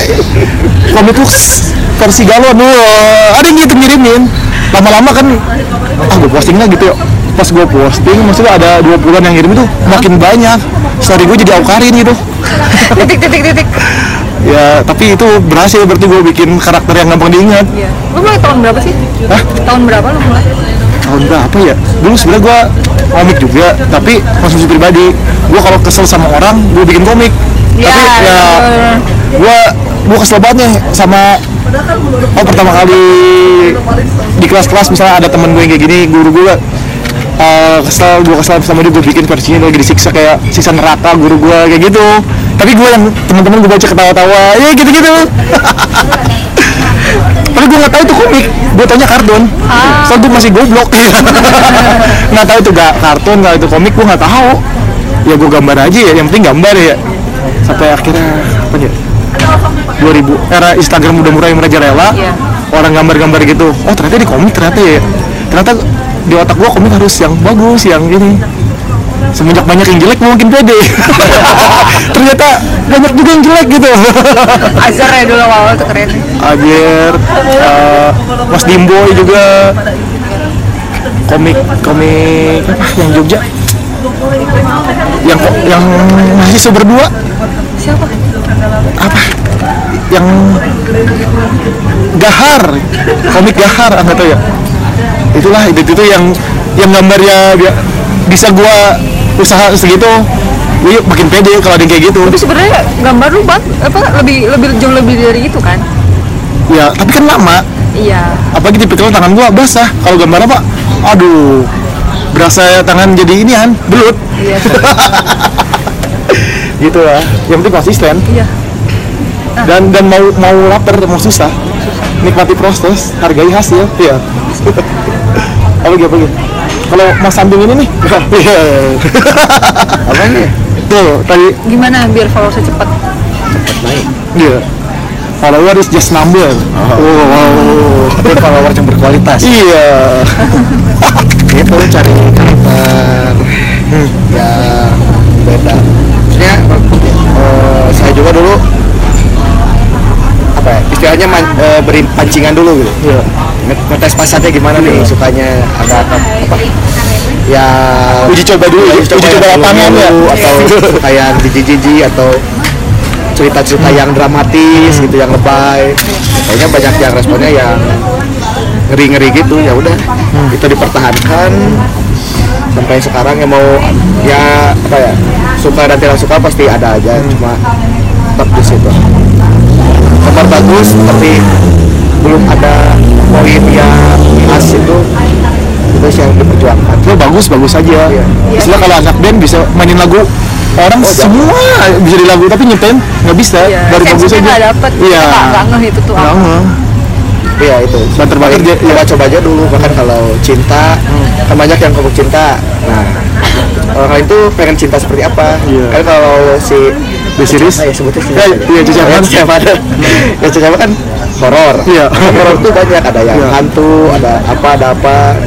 Speaker 3: komik looks versi galon wah ada yang gitu ngirimin lama-lama kan ah gue posting lah gitu ya pas gue posting maksudnya ada dua bulan yang ngirim itu makin banyak story gue jadi aukarin gitu
Speaker 1: Titik, titik, titik.
Speaker 3: ya tapi itu berhasil berarti gue bikin karakter yang gampang diingat
Speaker 1: Iya. Lu mulai tahun berapa sih?
Speaker 3: Hah?
Speaker 1: Tahun berapa lu mulai?
Speaker 3: tahun berapa ya dulu sebenarnya gue komik juga tapi konsumsi pribadi gue kalau kesel sama orang gue bikin komik
Speaker 1: Ya,
Speaker 3: tapi ya
Speaker 1: bener.
Speaker 3: gue gue kesel banget nih sama oh pertama kali di kelas-kelas misalnya ada temen gue yang kayak gini guru gue eh, kesel gue kesel sama dia gue bikin versinya lagi disiksa kayak siksa neraka guru gue kayak gitu tapi gue yang teman-teman gue baca ketawa-tawa ya gitu-gitu tapi gue nggak tahu itu komik gue tanya kartun soalnya gue masih goblok nggak tahu itu gak kartun nggak itu komik gue nggak tahu ya gue gambar aja ya yang penting gambar ya sampai akhirnya apa ya 2000 era Instagram udah murah yang merajalela
Speaker 1: Iya.
Speaker 3: orang gambar-gambar gitu oh ternyata di komik ternyata ya ternyata di otak gue komik harus yang bagus yang ini semenjak banyak yang jelek mungkin pede ternyata banyak juga yang jelek gitu
Speaker 1: Azhar ya dulu awal tuh keren.
Speaker 3: Ajer, eh, Mas Dimboy juga komik komik apa yang Jogja yang yang mahasiswa berdua
Speaker 1: Siapa?
Speaker 3: yang gahar komik gahar ah, nggak tahu ya itulah itu itu yang yang gambarnya dia- bisa gua usaha segitu gue makin pede kalau ada yang kayak gitu
Speaker 1: Tapi sebenarnya gambar lu bang, apa lebih lebih jauh lebih dari itu kan?
Speaker 3: ya tapi kan lama
Speaker 1: Iya.
Speaker 3: apalagi tipikal tangan gua basah kalau gambar apa aduh berasa tangan jadi inian belut
Speaker 1: Iya.
Speaker 3: gitu lah yang penting konsisten
Speaker 1: Iya.
Speaker 3: dan dan mau mau lapar mau susah nikmati proses hargai hasil iya apa gitu apa gitu kalau mas sambing ini nih iya apa nih tuh tadi
Speaker 1: Gimana biar followersnya cepet?
Speaker 3: iya follower is just number Wow, wow.
Speaker 4: Tapi follower yang berkualitas.
Speaker 3: iya
Speaker 4: Itu cari karakter
Speaker 3: Hmm.
Speaker 4: yang beda. Maksudnya eh, saya juga dulu apa ya, istilahnya man- eh, beri pancingan dulu gitu.
Speaker 3: iya
Speaker 4: Nge- ngetes pasarnya gimana nih sukanya ada apa, apa ya
Speaker 3: Uji coba dulu, uji coba
Speaker 4: yang
Speaker 3: lapangan ya.
Speaker 4: dulu, atau suka yang
Speaker 3: Hmm.
Speaker 4: jijiji atau cerita-cerita yang dramatis gitu yang lebay kayaknya banyak yang responnya yang ngeri ngeri gitu ya udah
Speaker 3: Hmm.
Speaker 4: itu dipertahankan sampai sekarang yang mau ya apa ya suka dan tidak suka pasti ada aja
Speaker 3: Hmm.
Speaker 4: cuma tetap di situ kabar bagus tapi belum ada poin yang khas itu terus yang diperjuangkan
Speaker 3: Lo Ya, bagus bagus aja.
Speaker 4: Iya.
Speaker 3: Istilah kalau anak band bisa mainin lagu orang
Speaker 4: Oh, jangan.
Speaker 3: semua bisa di lagu tapi nyiptain nggak bisa
Speaker 1: Iya,
Speaker 3: baru bagus
Speaker 1: sensinya
Speaker 3: aja.
Speaker 1: nggak dapet.
Speaker 3: Iya.
Speaker 1: Kita nggak ngeh itu tuh apa.
Speaker 3: Nggak.
Speaker 4: Iya itu.
Speaker 3: Dan terbaik
Speaker 4: Paling
Speaker 3: Hmm. dia- iya.
Speaker 4: coba coba aja dulu bahkan kalau cinta kan banyak yang ngomong cinta. Nah orang lain tuh pengen cinta seperti apa?
Speaker 3: Iya.
Speaker 4: Kan kalau si
Speaker 3: The series?
Speaker 4: Ah, ya sebutnya
Speaker 3: Ya, iya, Cici Ahmad.
Speaker 4: Cici Ahmad. ya Cici Ahmad kan horor.
Speaker 3: Iya.
Speaker 4: Horor tuh banyak ada yang
Speaker 3: Iya.
Speaker 4: hantu, ada apa ada apa.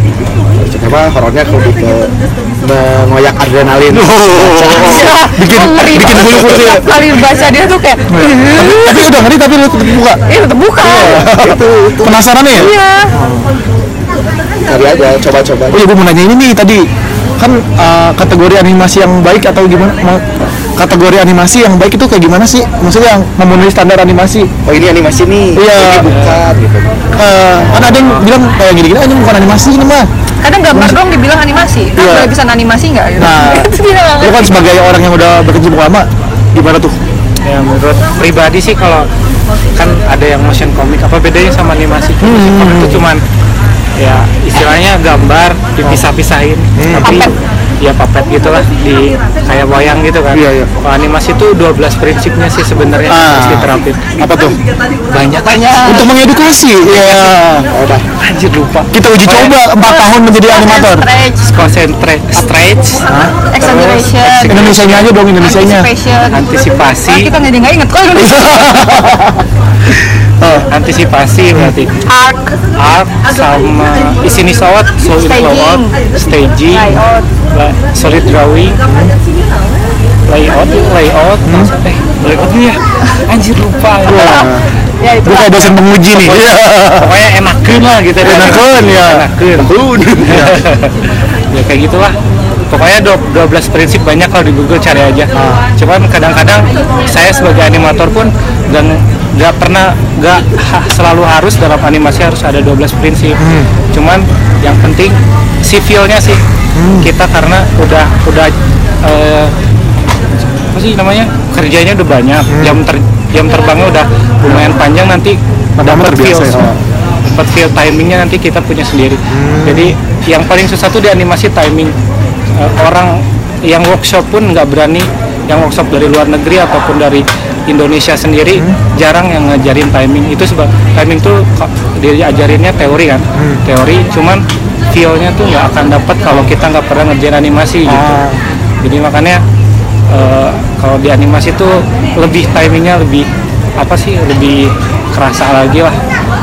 Speaker 4: Cici Ahmad horornya lebih ke mengoyak adrenalin.
Speaker 3: Oh. bikin
Speaker 1: Ngeri
Speaker 3: bikin
Speaker 1: banget.
Speaker 3: bulu putih.
Speaker 1: Tiap kali baca dia tuh kayak
Speaker 3: Tapi udah ngeri tapi lu tetep buka.
Speaker 1: Iya tetep buka
Speaker 4: itu itu
Speaker 3: Penasaran ya?
Speaker 1: Iya
Speaker 4: cari aja coba-coba.
Speaker 3: Oh iya, gue mau nanya ini nih tadi kan uh, kategori animasi yang baik atau gimana? Ma- kategori animasi yang baik itu kayak gimana sih? Maksudnya yang memenuhi standar animasi?
Speaker 4: Oh ini animasi nih.
Speaker 3: Iya.
Speaker 4: Ini bukan gitu.
Speaker 3: Eh, kan ada yang bilang kayak gini-gini, ah, ini bukan animasi ini mah.
Speaker 1: Kadang gambar doang dibilang animasi Kan
Speaker 3: Iya.
Speaker 1: tulisan animasi nggak? gitu.
Speaker 3: Nah,
Speaker 1: Itu dia nggak
Speaker 3: Lu kan
Speaker 1: ngerti.
Speaker 3: sebagai orang yang udah berkecimpung lama, gimana tuh?
Speaker 6: ya menurut pribadi sih kalau kan ada yang motion comic apa bedanya sama animasi Kalau
Speaker 3: Hmm.
Speaker 6: motion comic itu cuman ya istilahnya gambar dipisah-pisahin
Speaker 3: Hmm.
Speaker 6: tapi ya papet gitulah di kayak wayang gitu kan
Speaker 3: Iya, iya.
Speaker 6: kalau animasi itu 12 prinsipnya sih sebenarnya yang
Speaker 3: Ah.
Speaker 6: harus diterapin
Speaker 3: Apa tuh?
Speaker 6: banyak
Speaker 3: Untuk mengedukasi, ya.
Speaker 4: Oh, udah.
Speaker 6: anjir lupa
Speaker 3: Kita uji coba 4 tahun menjadi animator.
Speaker 1: Stretch
Speaker 6: concentrate stretch
Speaker 3: Iya.
Speaker 1: Exaggeration
Speaker 3: Indonesia-nya aja dong, Indonesia-nya.
Speaker 1: Anticipation
Speaker 6: Antisipasi.
Speaker 1: Wah, Nah, Kita jadi nggak inget kok Indonesia
Speaker 3: Oh.
Speaker 6: antisipasi berarti
Speaker 1: Arc
Speaker 6: art sama isini sawat so in layout staging
Speaker 1: Layout.
Speaker 6: la- solid drawing layout layout maksudnya eh, layout ini ya anjir lupa
Speaker 1: Ya itu
Speaker 3: Gue
Speaker 1: lah.
Speaker 3: kayak dosen penguji nih.
Speaker 6: Pokoknya- pokoknya enakin lah gitu ya
Speaker 3: Enakeun, ya.
Speaker 6: enakin Iya. ya kayak gitulah pokoknya dua- 12 prinsip banyak kalau di Google cari aja cuman kadang-kadang saya sebagai animator pun dan nggak pernah nggak ha- selalu harus dalam animasi harus ada 12 prinsip cuman yang penting si feel-nya sih kita karena udah udah eh, apa sih namanya kerjanya udah banyak jam ter- jam terbangnya udah lumayan panjang nanti
Speaker 3: Padahal
Speaker 6: dapat feel
Speaker 3: terbiasa ya.
Speaker 6: dapat feel timingnya nanti kita punya sendiri jadi yang paling susah tuh di animasi timing Eh, orang yang workshop pun nggak berani yang workshop dari luar negeri ataupun dari Indonesia sendiri jarang yang ngajarin timing itu sebab timing tuh ko- diajarinnya teori kan teori cuman feel-nya tuh nggak akan dapat kalau kita nggak pernah ngerjain animasi gitu jadi makanya Eh, kalau di animasi itu lebih timingnya lebih apa sih lebih kerasa lagi lah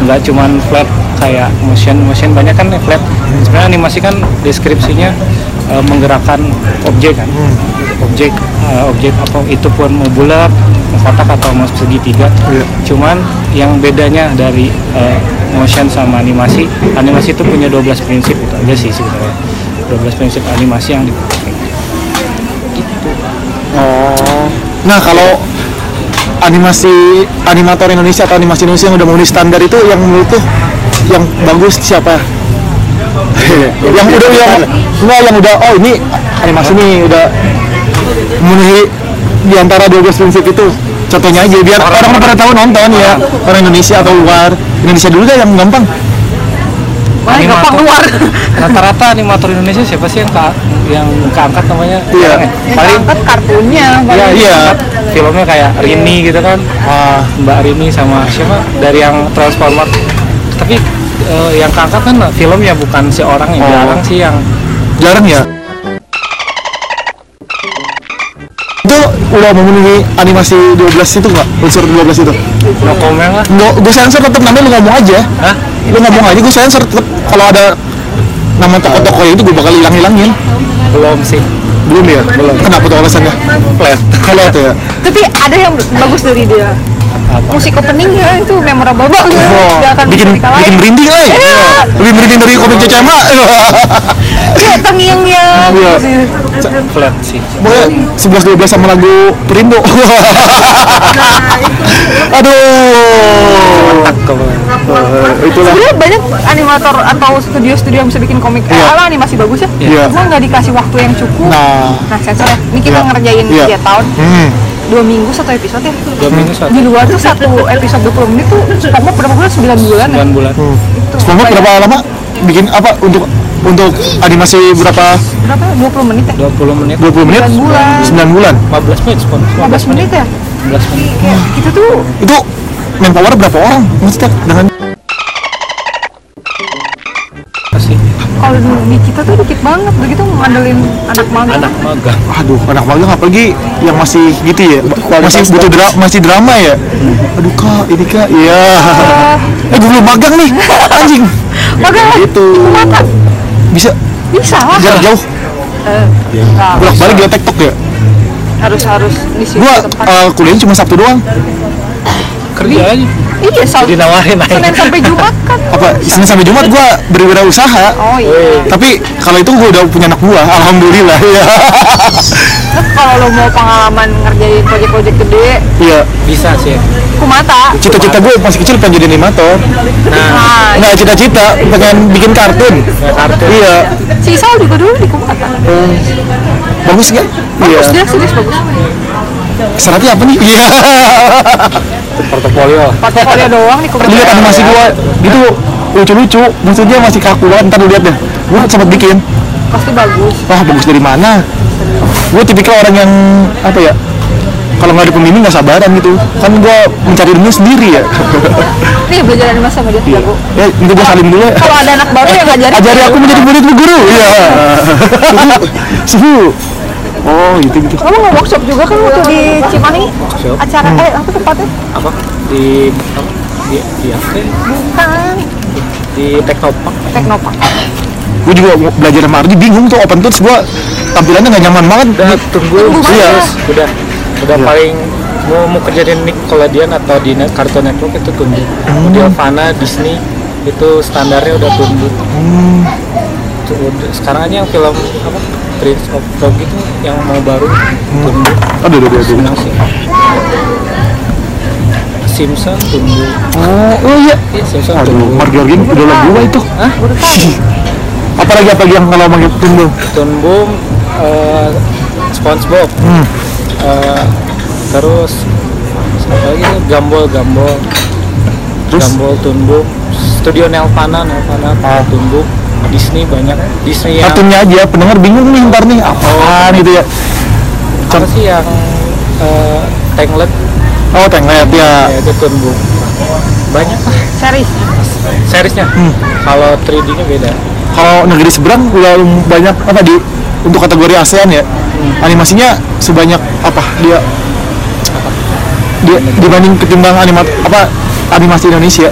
Speaker 6: nggak cuman flat kayak motion motion banyak kan flat sebenarnya animasi kan deskripsinya eh, menggerakkan objek kan objek eh, objek apa itu pun mau bulat mau kotak atau mau segitiga cuman yang bedanya dari eh, motion sama animasi animasi itu punya 12 prinsip itu aja sih sebenarnya 12 prinsip animasi yang di
Speaker 3: Nah kalau animasi animator Indonesia atau animasi Indonesia yang udah memenuhi standar itu yang menurut tuh yang bagus siapa? yang udah yang enggak yang udah oh ini animasi ini udah memenuhi di antara 12 prinsip itu contohnya aja biar orang, pada tahu nonton ya orang Indonesia atau luar Indonesia dulu deh yang gampang
Speaker 1: Wah, gampang keluar
Speaker 6: rata-rata animator Indonesia siapa sih yang ka- yang keangkat namanya
Speaker 3: Iya.
Speaker 6: Jarang ya?
Speaker 1: Yang
Speaker 6: paling
Speaker 1: keangkat kartunya
Speaker 6: iya
Speaker 1: paling.
Speaker 3: iya.
Speaker 6: keangkat filmnya kayak Rini gitu kan
Speaker 3: ah
Speaker 6: Mbak Rini sama siapa dari yang Transformer tapi eh, yang keangkat kan filmnya bukan si orang
Speaker 3: Oh.
Speaker 6: yang jarang sih yang
Speaker 3: jarang ya itu udah memenuhi animasi 12 itu nggak unsur 12 itu
Speaker 6: no comment lah
Speaker 3: Nggak, gue sensor tetap namanya lu ngomong aja
Speaker 6: Hah?
Speaker 3: Lu ngomong aja, gue sensor tetap Kalau ada nama toko-toko itu gue bakal hilang-hilangin
Speaker 6: belum sih
Speaker 3: Belum ya? Belum Kenapa tuh alasannya?
Speaker 6: flat
Speaker 3: Kalau tuh ya
Speaker 1: Tapi ada yang bagus dari dia
Speaker 6: Apa?
Speaker 1: Musik openingnya itu memorable banget Nggak akan
Speaker 3: bikin
Speaker 1: bisa
Speaker 3: bikin
Speaker 1: dikalahin
Speaker 3: merinding lah ya
Speaker 1: Iya.
Speaker 3: Lebih merinding dari komik Cecema
Speaker 1: Iya, terngiang-ngiang
Speaker 3: Iya.
Speaker 6: flat sih
Speaker 3: Boleh 11-12 sama lagu Perindo Aduh
Speaker 6: tak kalau
Speaker 3: Eh, itulah
Speaker 1: Sebenarnya banyak animator atau studio-studio yang bisa bikin komik. Eh,
Speaker 3: Iya.
Speaker 1: ala animasi bagus ya.
Speaker 3: Iya.
Speaker 1: Cuma nggak dikasih waktu yang cukup.
Speaker 3: Nah.
Speaker 1: sensor ya. Ini kita
Speaker 3: Iya.
Speaker 1: ngerjain
Speaker 3: Iya.
Speaker 1: tiga tahun. Dua minggu satu episode ya.
Speaker 6: dua minggu satu
Speaker 1: Di luar tuh satu episode 20 menit tuh SpongeBob berapa bulan? 9 bulan ya.
Speaker 6: bulan bulan
Speaker 3: SpongeBob berapa lama bikin apa untuk untuk animasi berapa
Speaker 1: Berapa? ya? 20 menit ya.
Speaker 6: 20 menit
Speaker 3: 20 menit?
Speaker 1: Sembilan bulan.
Speaker 3: 9 bulan.
Speaker 6: 15 menit spon
Speaker 1: 15 menit ya.
Speaker 6: 15 menit
Speaker 1: Kayak kita tuh
Speaker 3: Itu manpower berapa orang? Maksudnya dengan
Speaker 6: kasih
Speaker 1: kalau di kita tuh dikit banget begitu ngandelin anak mama.
Speaker 6: anak magang
Speaker 3: aduh anak magang apalagi yang masih gitu ya masih butuh dra- masih drama ya
Speaker 1: Hmm.
Speaker 3: aduh kak ini kak iya
Speaker 1: Ah.
Speaker 3: eh gue belum magang nih anjing
Speaker 1: Oke lah.
Speaker 3: Gitu.
Speaker 1: Mata.
Speaker 3: bisa
Speaker 1: Bisa lah.
Speaker 3: jarak jauh
Speaker 1: Nah,
Speaker 3: bolak balik dia tiktok ya
Speaker 1: harus harus di situ
Speaker 3: gua
Speaker 1: tempat.
Speaker 3: eh, kuliahnya cuma sabtu doang
Speaker 6: kerja aja
Speaker 1: Iya, Sal.
Speaker 6: dinawarin
Speaker 1: Senin
Speaker 6: aja
Speaker 1: sampai Jumat kan.
Speaker 3: apa senin sampai jumat gua berwirausaha
Speaker 1: Oh iya.
Speaker 3: tapi kalau itu gua udah punya anak buah alhamdulillah ya
Speaker 1: Terus Nah, kalau lo mau pengalaman ngerjain proyek-proyek gede,
Speaker 3: iya
Speaker 6: bisa sih
Speaker 1: kumata.
Speaker 3: cita-cita gua masih kecil pengen jadi animator
Speaker 6: nah
Speaker 1: Nah,
Speaker 3: nggak cita-cita pengen Ah, iya. bikin kartun
Speaker 6: ya kartu
Speaker 3: iya
Speaker 1: Nah, si Sal juga dulu di kumata.
Speaker 3: bagus nggak iya
Speaker 1: Terus dia serius bagus.
Speaker 3: syaratnya apa nih iya
Speaker 4: portofolio
Speaker 1: Portfolio doang di kumata.
Speaker 3: Lu lihat animasi gua itu lucu-lucu maksudnya masih kakuan ntar lu lihat deh gua sempat bikin
Speaker 1: Pasti bagus.
Speaker 3: wah bagus dari mana gua tipikal orang yang apa ya kalau nggak ada pembimbing nggak sabaran gitu kan gua mencari ilmu sendiri ya
Speaker 1: Nih belajar animasi sama dia jago.
Speaker 3: ya itu gua salim dulu ya
Speaker 1: Kalau ada anak baru yang ngajarin.
Speaker 3: ajari aku menjadi murid lu guru iya suhu oh gitu gitu
Speaker 1: Kamu nggak workshop juga kan waktu di
Speaker 3: Iya.
Speaker 1: Cimahi acara
Speaker 3: Hmm.
Speaker 1: eh apa tempatnya?
Speaker 6: apa di di di apa ya?
Speaker 1: Bukan
Speaker 6: di teknopark
Speaker 1: Teknopark.
Speaker 3: gua juga mau belajar sama Ardi bingung tuh open tools gua tampilannya nggak nyaman banget
Speaker 6: udah tunggu
Speaker 1: Tunggu
Speaker 6: Iya.
Speaker 3: ya.
Speaker 1: mana?
Speaker 6: udah udah paling mau mau kerja di Nickelodeon atau di net- Cartoon Network itu tunggu di Havana Disney itu standarnya udah tunggu Hmm. Tuh, udah- sekarang aja yang film apa Prince of Dog itu yang mau baru tunggu
Speaker 3: aduh aduh aduh, aduh.
Speaker 6: senang sih Simpson tunggu
Speaker 3: oh oh iya
Speaker 6: Iya, Simpson
Speaker 3: Aduh,
Speaker 6: tunggu
Speaker 3: Mark Jorgen idola gua itu.
Speaker 6: Hah?
Speaker 3: Apalagi apalagi yang kalau pakai tumbul.
Speaker 6: Toon Boom, eh, SpongeBob, eh, terus apa lagi tuh? Gumball, Gumball,
Speaker 3: Terus?
Speaker 6: Gumball, Toon Boom, Studio Nelvana, Nelvana, Toon Boom, Disney banyak, Disney yang
Speaker 3: Kartunnya aja pendengar bingung nih ntar nih
Speaker 6: Oh,
Speaker 3: apaan gitu ya.
Speaker 6: apa sih yang eh, Tangled,
Speaker 3: Oh, tenglet ya.
Speaker 6: ya itu Toon Boom, banyak lah
Speaker 1: Series.
Speaker 6: seriesnya, kalau 3D-nya beda,
Speaker 3: Kalau negeri seberang udah banyak apa di untuk kategori ASEAN ya.
Speaker 6: Hmm.
Speaker 3: Animasinya sebanyak apa dia dia dibanding ketimbang animat apa animasi Indonesia.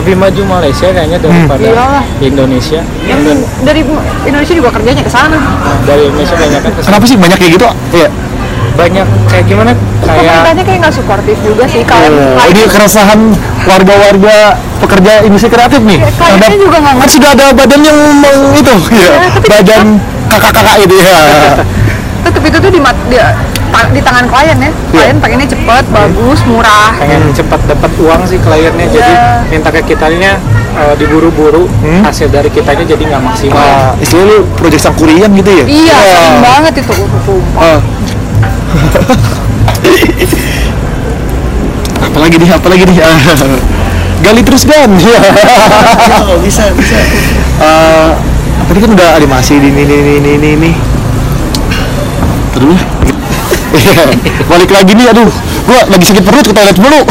Speaker 6: lebih maju Malaysia kayaknya daripada
Speaker 1: Iyalah.
Speaker 6: Indonesia,
Speaker 3: Iya.
Speaker 6: ah,
Speaker 1: Yang dari Indonesia juga kerjanya ke sana.
Speaker 6: dari Indonesia banyak kan kesana.
Speaker 3: Kenapa sih banyak kayak gitu? Iya.
Speaker 6: banyak kayak gimana kayak
Speaker 1: Pemerintahnya kayak nggak suportif juga sih kalau
Speaker 3: Eh, Iya. ini keresahan warga-warga pekerja industri kreatif nih.
Speaker 1: Iya, kliennya
Speaker 3: Terhadap-
Speaker 1: juga nggak
Speaker 3: kan
Speaker 1: ngerti.
Speaker 3: sudah ada badan yang meng- itu, ya,
Speaker 1: tapi-
Speaker 3: badan kakak-kakak itu ya.
Speaker 1: tetap itu tuh di, mat- di, ta- di tangan klien
Speaker 3: Iya.
Speaker 1: ya klien pengennya cepet bagus murah
Speaker 6: pengen cepat dapat uang sih kliennya jadi
Speaker 1: Iya.
Speaker 6: minta ke kitanya eh, diburu-buru hasil dari kitanya jadi nggak maksimal
Speaker 3: Wah, Ah, istilahnya lu proyek sangkurian gitu ya?
Speaker 1: iya sering banget itu sumpah.
Speaker 3: Wah. apalagi nih, apalagi nih. Ah. Gali terus kan. bisa, bisa. tadi kan udah animasi ini ini ini ini ini. ini. Terus Iya. balik lagi nih aduh gua lagi sakit perut ke toilet mulu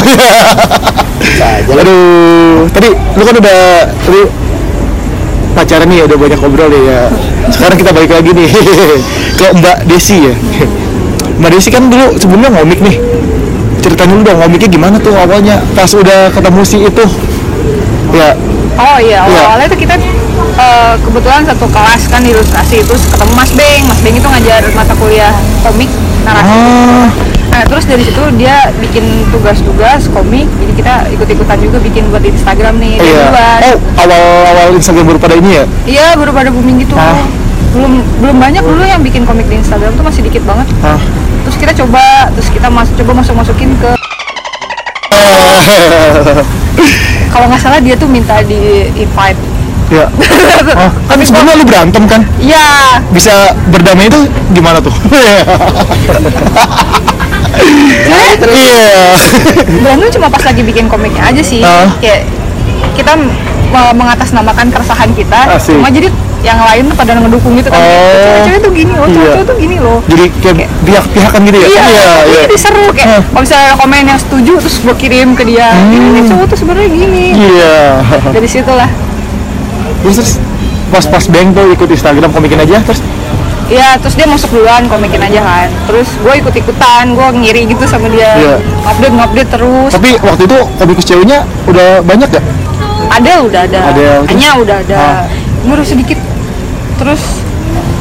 Speaker 3: aduh tadi lu kan udah tadi pacaran nih ya, udah banyak ngobrol nih ya sekarang kita balik lagi nih ke Mbak Desi ya Mbak Desi kan dulu sebelumnya ngomik nih ceritain dulu dong ngomiknya gimana tuh awalnya pas udah ketemu si itu ya
Speaker 1: oh iya
Speaker 3: Iya.
Speaker 1: awalnya tuh kita eh, kebetulan satu kelas kan di ilustrasi terus ketemu Mas Beng Mas Beng itu ngajar mata kuliah komik narasi
Speaker 3: ah
Speaker 1: nah terus dari situ dia bikin tugas-tugas komik jadi kita ikut-ikutan juga bikin buat di Instagram nih dia
Speaker 3: iya
Speaker 1: buat.
Speaker 3: oh awal awal Instagram baru pada ini ya
Speaker 1: iya baru pada booming gitu
Speaker 3: Ah.
Speaker 1: belum belum banyak dulu yang bikin komik di Instagram tuh masih dikit banget
Speaker 3: ah
Speaker 1: terus
Speaker 3: Oh.
Speaker 1: kita coba terus kita mas coba masuk masukin ke kalau nggak salah dia tuh minta di invite
Speaker 3: ya oh, kan sebelumnya lu berantem kan
Speaker 1: Iya,
Speaker 3: bisa berdamai itu gimana tuh iya
Speaker 1: berantem cuma pas lagi bikin komiknya aja sih
Speaker 3: Ah.
Speaker 1: kayak kita me- mengatasnamakan keresahan kita
Speaker 3: Asik.
Speaker 1: cuma jadi yang lain tuh pada ngedukung gitu kan
Speaker 3: Oh.
Speaker 1: cewek-cewek tuh gini oh
Speaker 3: Iya.
Speaker 1: cewek-cewek tuh gini loh
Speaker 3: jadi kayak pihak-pihak kan gitu ya
Speaker 1: Iya, tapi jadi seru kayak
Speaker 3: Ah. Hmm.
Speaker 1: kalau misalnya ada komen yang setuju terus gue kirim ke dia. Ini cowok tuh sebenarnya gini.
Speaker 3: iya
Speaker 1: Dari situlah.
Speaker 3: terus terus pas-pas bang tuh ikut Instagram komikin aja terus
Speaker 1: Iya, terus dia masuk duluan komikin aja kan. Terus gue ikut-ikutan, gue ngiri gitu sama dia.
Speaker 3: Iya.
Speaker 1: Update ngupdate terus.
Speaker 3: tapi waktu itu komikus ceweknya udah banyak gak?
Speaker 1: Ada udah ada.
Speaker 3: Ada, terus- Ah.
Speaker 1: Hanya udah ada. Baru sedikit. Terus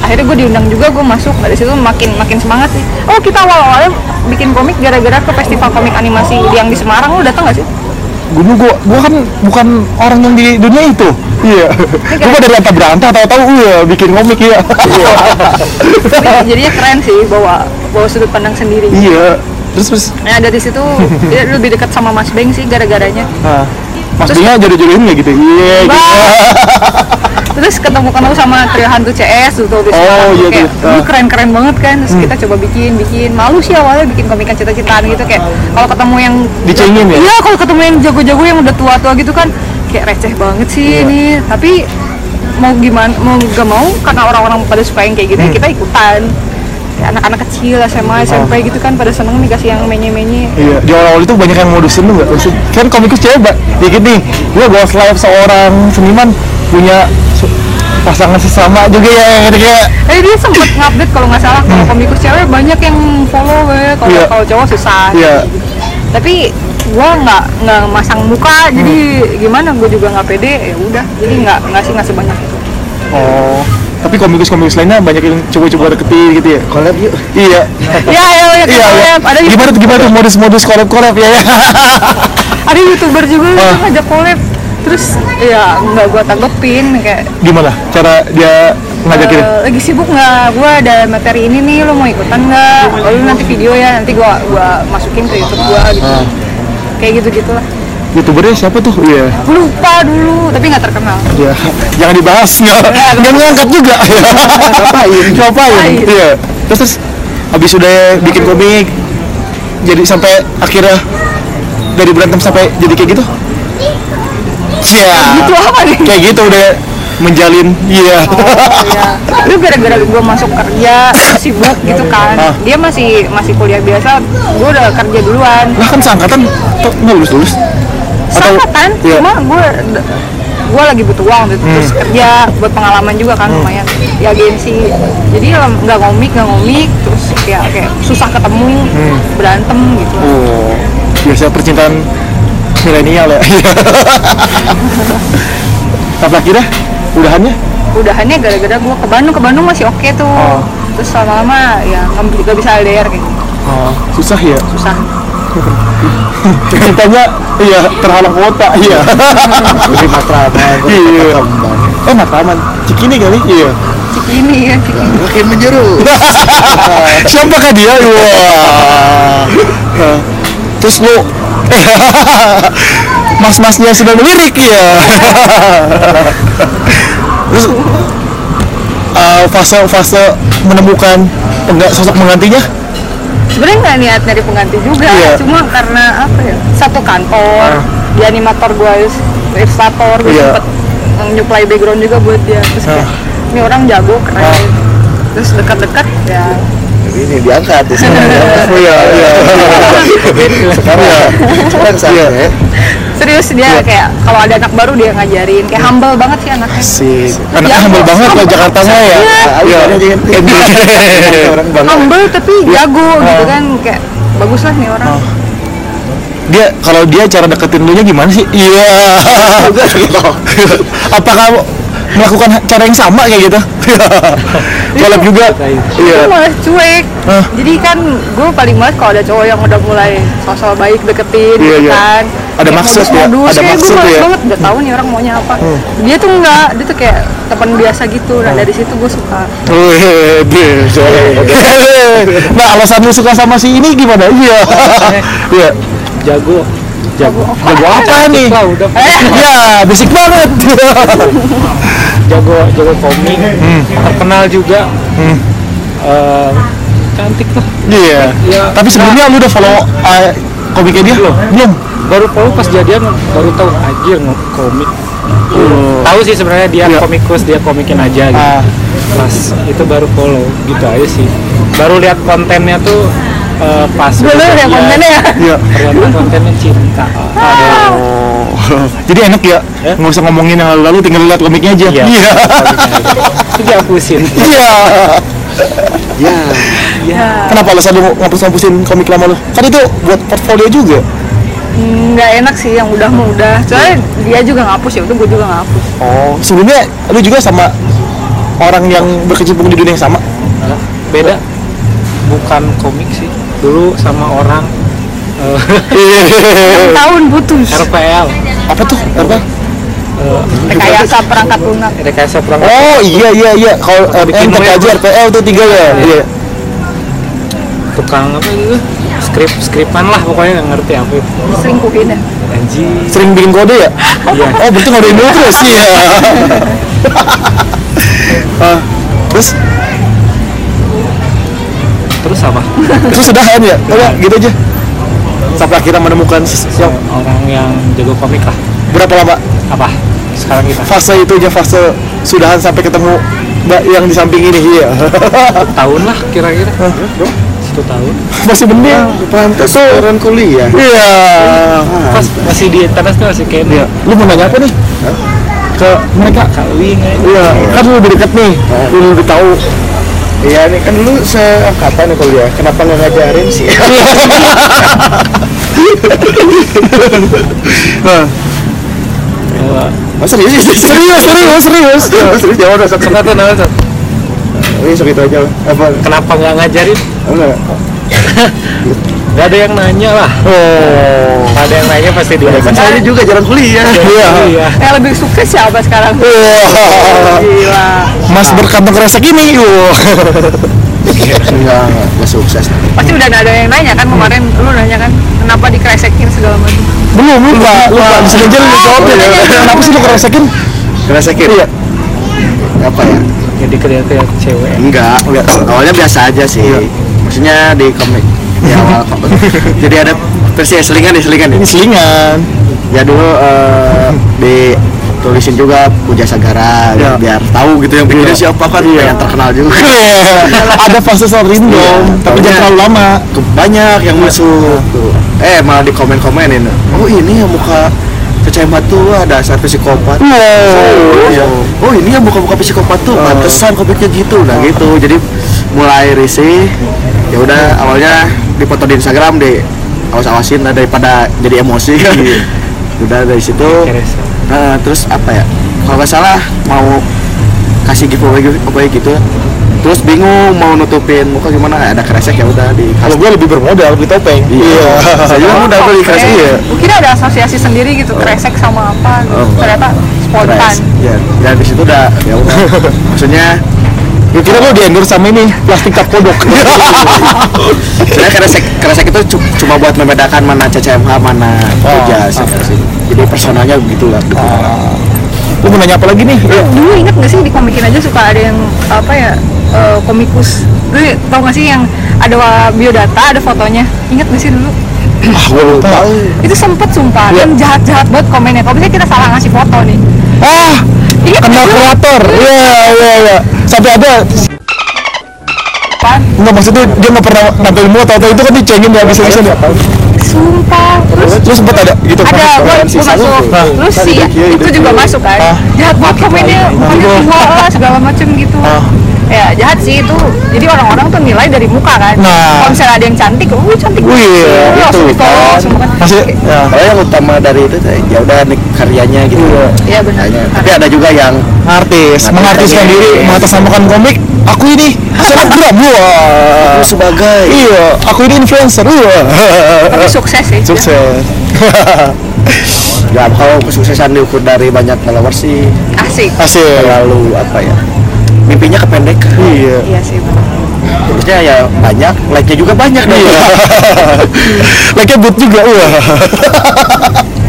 Speaker 1: akhirnya gue diundang juga gue masuk dari situ makin makin semangat sih oh kita awal awalnya bikin komik gara-gara ke festival komik animasi yang di Semarang lo datang gak sih
Speaker 3: Gue gua, gua kan bukan orang yang di dunia itu. Iya. Gua dari lanta beranta tahu-tahu iya bikin komik ya.
Speaker 1: Tapi jadinya keren sih bawa bawa sudut pandang sendiri
Speaker 3: iya. Terus terus
Speaker 1: Nah dari situ dia lebih dekat sama Mas Beng sih gara-garanya.
Speaker 3: nah, Mas Bima jodoh-jodohin nggak gitu? Iya. gitu.
Speaker 1: Terus ketemu ketemu sama Trio Hantu CS tuh tuh
Speaker 3: Oh, iya, Hmm.
Speaker 1: kayak
Speaker 3: tuh.
Speaker 1: "Ih, keren-keren banget kan. Terus kita coba bikin bikin malu sih awalnya bikin komikan cita-citaan gitu kayak kalau ketemu yang
Speaker 3: Dicengin ya?
Speaker 1: Iya kalau ketemu yang jago-jago yang udah tua-tua gitu kan kayak receh banget
Speaker 3: Iya.
Speaker 1: sih ini. Tapi mau gimana mau gak mau karena orang-orang pada suka yang kayak gitu
Speaker 3: Hmm.
Speaker 1: ya kita ikutan Kayak anak-anak kecil SMA
Speaker 3: Oh.
Speaker 1: SMP gitu kan pada seneng nih kasih yang menye-menye
Speaker 3: Iya, di awal-awal itu banyak yang modusin lu nggak sih? Kan komikus cewek ba- dikit nih. Gua gua live seorang seniman punya su- pasangan sesama juga ya gitu kayak
Speaker 1: Eh dia sempet ngupdate kalau nggak salah kalau komikus cewek banyak yang follow gue, kalau
Speaker 3: Iya.
Speaker 1: kalau cowok susah.
Speaker 3: Iya.
Speaker 1: Tapi gua nggak nggak masang muka, jadi
Speaker 3: Hmm.
Speaker 1: gimana gue juga nggak pede. Ya udah, jadi nggak nggak sih nggak sebanyak itu.
Speaker 3: Oh, tapi komikus-komikus lainnya banyak yang coba-coba deketin gitu ya.
Speaker 4: collab yuk
Speaker 3: Iya.
Speaker 1: Ya ya ya,
Speaker 3: Iya, iya.
Speaker 1: collab. Ada
Speaker 3: Gimana tuh gimana tuh modus-modus collab-collab ya ya.
Speaker 1: ada youtuber juga
Speaker 3: Ah.
Speaker 1: yang ngajak collab. Terus ya nggak gua tanggepin kayak
Speaker 3: Gimana cara dia ngajakin?
Speaker 1: "Eh, lagi sibuk nggak? Gua ada materi ini nih, lo mau ikutan nggak? Oh,
Speaker 3: Iya,
Speaker 1: lu nanti video ya, nanti gua gua masukin ke YouTube gua gitu.
Speaker 3: Ah.
Speaker 1: Kayak gitu gitulah.
Speaker 3: Youtubernya siapa tuh? Iya.
Speaker 1: Gua lupa dulu, tapi nggak terkenal.
Speaker 3: Iya. Jangan dibahas nggak. Nggak ngangkat juga. Ngapain? Ngapain?
Speaker 1: Ngapain.
Speaker 3: Iya. Terus, terus habis udah bikin komik, jadi sampai akhirnya dari berantem sampai jadi kayak gitu? Iya.
Speaker 1: Itu apa nih?
Speaker 3: Kayak gitu udah menjalin. Iya.
Speaker 1: lu gara-gara gue masuk kerja sibuk gitu kan
Speaker 3: Ah.
Speaker 1: dia masih masih kuliah biasa gue udah kerja duluan
Speaker 3: Lah kan seangkatan tuh nggak lulus lulus. Atau-
Speaker 1: sangkatan
Speaker 3: Iya.
Speaker 1: kan, cuma gue gue lagi butuh uang gitu. terus kerja buat pengalaman juga kan lumayan di agensi jadi ya nggak ngomik nggak ngomik terus ya kayak susah ketemu berantem gitu
Speaker 3: Oh, biasa percintaan milenial ya. Tapi akhirnya udahannya
Speaker 1: udahannya gara-gara gue ke Bandung ke Bandung masih oke tuh
Speaker 3: Oh.
Speaker 1: terus lama-lama ya nggak nggak bisa LDR kayak gitu.
Speaker 3: susah ya.
Speaker 1: susah
Speaker 3: Cintanya iya terhalang kota. Iya.
Speaker 4: lebih matrama
Speaker 3: Iya. Eh Matraman, Cikini kali? Iya.
Speaker 1: Cikini ya Cikini
Speaker 4: makin menjurus
Speaker 3: Siapa kah dia? Wah. Nah, Terus lu Mas-masnya sudah melirik ya. Terus eh, fase-fase menemukan pengga- sosok menggantinya
Speaker 1: sebenarnya nggak niat nyari pengganti juga
Speaker 3: Iya. Ah.
Speaker 1: cuma karena apa ya satu kantor di animator gue ilustrator gue
Speaker 3: Iya.
Speaker 1: sempet nyuplai background juga buat dia terus kayak
Speaker 3: Ah.
Speaker 1: ini orang jago keren terus dekat-dekat ya
Speaker 4: Jadi ini diangkat ya sekarang ya.
Speaker 3: iya iya
Speaker 4: sekarang ya sekarang saatnya ya
Speaker 1: serius
Speaker 3: Iya.
Speaker 1: dia kayak kalau ada anak baru dia ngajarin kayak humble banget sih anaknya
Speaker 3: sih anaknya humble banget loh Jakarta saya Iya. ya
Speaker 4: Ayo, ada yang
Speaker 3: Iya.
Speaker 4: Iya. orang bangga
Speaker 1: humble tapi jago
Speaker 3: Ah.
Speaker 1: gitu kan kayak bagus lah nih orang
Speaker 3: dia kalau dia cara deketin lu nya gimana sih iya apakah melakukan cara yang sama kayak gitu Kolab juga
Speaker 1: Gue
Speaker 3: iya
Speaker 1: malah cuek
Speaker 3: Hah?
Speaker 1: jadi kan gue paling banget kalau ada cowok yang udah mulai sosok baik deketin
Speaker 3: Iya,
Speaker 1: gitu
Speaker 3: iya.
Speaker 1: kan
Speaker 3: Ada
Speaker 1: Kayak
Speaker 3: maksud ya,
Speaker 1: modus-modus,
Speaker 3: ada
Speaker 1: kayak
Speaker 3: maksud
Speaker 1: gue males
Speaker 3: ya. Hmm.
Speaker 1: banget udah tahu nih orang maunya apa dia tuh enggak dia tuh kayak teman biasa gitu nah dari situ gue suka
Speaker 3: Wih, deh, deh. nah alasan lu suka sama si ini gimana iya iya
Speaker 6: jago jago
Speaker 3: Jago Eh. apa nih?
Speaker 6: lah udah
Speaker 3: Ya, basic banget.
Speaker 6: jago jago komik
Speaker 3: Hmm.
Speaker 6: terkenal juga Eh, cantik lah
Speaker 3: Iya.
Speaker 6: Iya.
Speaker 3: Tapi sebelumnya lu udah follow eh, komiknya dia?
Speaker 6: Belum.
Speaker 3: Belum.
Speaker 6: baru follow pas jadian baru tahu aja nge- komik tahu sih sebenarnya dia
Speaker 3: Oh. Iya.
Speaker 6: komikus dia komikin aja gitu
Speaker 3: Ah.
Speaker 6: pas itu baru follow gitu aja sih baru lihat kontennya tuh eh, pas
Speaker 1: Dulu
Speaker 6: udah
Speaker 1: ya
Speaker 6: jadian.
Speaker 1: kontennya ya.
Speaker 3: Iya.
Speaker 6: ternyata kontennya cinta
Speaker 3: Oh. Jadi enak ya,
Speaker 6: Ya?
Speaker 3: nggak usah ngomongin yang lalu-lalu, tinggal lihat komiknya aja.
Speaker 6: Iya.
Speaker 3: Iya.
Speaker 6: itu dihapusin
Speaker 3: Iya.
Speaker 4: Ya,
Speaker 3: Kenapa alasan lu ngapus-ngapusin komik lama lu? Kan itu buat portfolio juga.
Speaker 1: nggak enak sih yang udah mau udah soalnya dia juga ngapus ya udah gue juga ngapus
Speaker 3: Oh. Sebelumnya lu juga sama orang yang berkecimpung di dunia yang sama.
Speaker 6: beda bukan komik sih dulu sama orang eh,
Speaker 1: Enam tahun putus
Speaker 6: RPL
Speaker 3: Apa tuh? Apa?
Speaker 1: rekayasa perangkat lunak
Speaker 6: rekayasa perang
Speaker 3: Oh iya iya iya. Kalau eh,
Speaker 6: Bikin
Speaker 3: MTKJ
Speaker 6: web.
Speaker 3: RPL tuh tiga ya. Iya.
Speaker 6: tukang apa gitu skrip skripan lah pokoknya nggak ngerti apa itu
Speaker 1: selingkuhin ya
Speaker 6: anji
Speaker 3: Sering bikin kode ya?
Speaker 6: Iya.
Speaker 3: Oh berarti ngodein dulu terus iya. Ah, terus
Speaker 6: terus apa
Speaker 3: terus sudah kan ya? Udah gitu aja. Sampai akhirnya menemukan sesuatu.
Speaker 6: orang yang jago komik lah
Speaker 3: berapa lama
Speaker 6: apa sekarang kita
Speaker 3: fase itu aja fase sudahan sampai ketemu mbak yang di samping ini iya.
Speaker 6: satu tahun lah kira-kira Iya, satu tahun
Speaker 3: Masih mending.
Speaker 4: pantas Ah, orang kuliah. Ah.
Speaker 3: Iya.
Speaker 6: pas masih di internet tuh masih kayak
Speaker 3: Iya. Lu mau nanya apa nih? Ke mereka.
Speaker 6: kawin
Speaker 3: Iya, kan lu lebih dekat nih. Lu lebih tahu.
Speaker 4: Ah. Iya nih kan dulu seangkatan ya kuliah. Kenapa nggak ngajarin sih?
Speaker 3: Nah,
Speaker 4: Masa Oh, serius? Oh,
Speaker 3: serius, serius, serius.
Speaker 4: Serius jawab udah sok
Speaker 6: suka tuh nama tuh
Speaker 4: Ini sok itu aja lah. Apa?
Speaker 6: kenapa nggak ngajarin
Speaker 4: Enggak.
Speaker 6: nggak ada yang nanya lah
Speaker 3: Oh.
Speaker 6: ada yang nanya pasti dia
Speaker 4: Kan saya ini juga jalan kuliah.
Speaker 3: Iya.
Speaker 6: iya
Speaker 1: yang lebih sukses siapa sekarang
Speaker 3: Wah,
Speaker 1: gila
Speaker 3: Mas berkantong kresek ini. Wah.
Speaker 4: Enggak, enggak Iya. Nggak sukses.
Speaker 1: pasti udah ada yang nanya kan kemarin lu nanya kan kenapa dikresekin segala macam
Speaker 3: Belum lupa, Iya, lupa. Bisa aja lu jawabnya. Kenapa sih lu kresekin?
Speaker 4: Karena sakit.
Speaker 3: Iya.
Speaker 4: Apa ya?
Speaker 6: jadi kelihatan cewek
Speaker 4: Enggak, enggak. Awalnya biasa aja sih. Maksudnya di komik. Ya, awal komik. Jadi ada versi ya, selingan nih, selingan nih.
Speaker 3: Ini selingan.
Speaker 4: Ya dulu eh, ditulisin juga puja sagara
Speaker 3: Iya.
Speaker 4: biar tahu gitu yang bikinnya siapa kan yang terkenal juga.
Speaker 3: Iya. Ada fase soal rindu,
Speaker 4: Iya,
Speaker 3: tapi jangan
Speaker 4: taunya.
Speaker 3: terlalu lama.
Speaker 4: Ke- banyak yang masuk tuh. eh malah di komen komenin oh ini yang muka percaya batu ada asal psikopat
Speaker 3: Wow.
Speaker 4: Iya. oh ini yang muka-muka psikopat tuh pantesan komiknya gitu nah gitu jadi mulai risih ya udah awalnya di foto di Instagram di awas-awasin lah daripada jadi emosi udah dari situ
Speaker 6: Keres.
Speaker 4: nah, terus apa ya kalau nggak salah mau kasih giveaway giveaway gitu terus bingung mau nutupin muka gimana ada kresek ya udah di
Speaker 3: Kalau gue lebih bermodal, lebih topeng.
Speaker 4: Iya. Saya juga udah beli kelas
Speaker 1: Oke.
Speaker 4: iya.
Speaker 1: Gua kira ada asosiasi sendiri gitu kresek sama apa gitu.
Speaker 4: Oh, enggak.
Speaker 1: ternyata spontan
Speaker 4: Kelas. Iya. Dan di situ udah ya udah. Maksudnya
Speaker 3: Ya kira lo di endorse sama ini plastik tak kodok.
Speaker 4: sebenarnya kresek kresek itu cu- cuma buat membedakan mana CCMH mana kerja sih. Jadi personanya begitu lah.
Speaker 3: Lu mau nanya apa lagi nih? Iya.
Speaker 1: dulu inget gak sih di komikin aja suka ada yang apa ya eh, komikus lu tau gak sih yang ada wa- biodata ada fotonya inget gak sih dulu
Speaker 3: Ah, gue lupa.
Speaker 1: itu sempet sumpah
Speaker 3: Iya.
Speaker 1: dan jahat jahat banget komennya kalau misalnya kita salah ngasih foto nih
Speaker 3: Ah,
Speaker 1: inget
Speaker 3: kena kreator. Iya, iya, iya. Sampai ada
Speaker 1: kan
Speaker 3: nggak maksudnya dia nggak pernah nampil mau tahu itu kan dicengin dia bisa bisa
Speaker 1: sumpah terus
Speaker 3: Terus sempat ada gitu.
Speaker 1: ada gua, gua masuk
Speaker 3: Nah.
Speaker 1: terus si itu juga masuk kan
Speaker 3: Ah.
Speaker 1: jahat banget komennya mukanya
Speaker 3: Gua-
Speaker 1: tua lah segala macem gitu
Speaker 3: Ah.
Speaker 1: ya jahat sih itu jadi orang-orang tuh nilai dari muka kan
Speaker 3: Nah.
Speaker 1: kalau misalnya ada yang cantik uh cantik
Speaker 3: Wih,
Speaker 1: banget sih. langsung
Speaker 3: itu
Speaker 1: di follow
Speaker 4: kan.
Speaker 1: semua kan
Speaker 3: Masih ya.
Speaker 4: Kalau yang utama dari itu tuh, ya udah nih karyanya gitu.
Speaker 1: Iya, benar.
Speaker 4: Karyanya. Tapi ada juga yang Artis
Speaker 3: artis,
Speaker 4: Iya,
Speaker 3: mengartiskan
Speaker 4: lagi.
Speaker 3: diri, mengatasnamakan komik. Aku ini selebgram, wah.
Speaker 4: sebagai
Speaker 3: Iya, aku ini influencer, wah.
Speaker 1: tapi sukses sih
Speaker 3: Sukses.
Speaker 4: ya kalau kesuksesan diukur dari banyak followers sih
Speaker 1: asik
Speaker 3: Asik.
Speaker 4: terlalu apa ya mimpinya kependekan
Speaker 3: Iya.
Speaker 1: iya sih benar.
Speaker 4: terusnya ya banyak like-nya juga banyak dong
Speaker 3: Lagi but juga wah.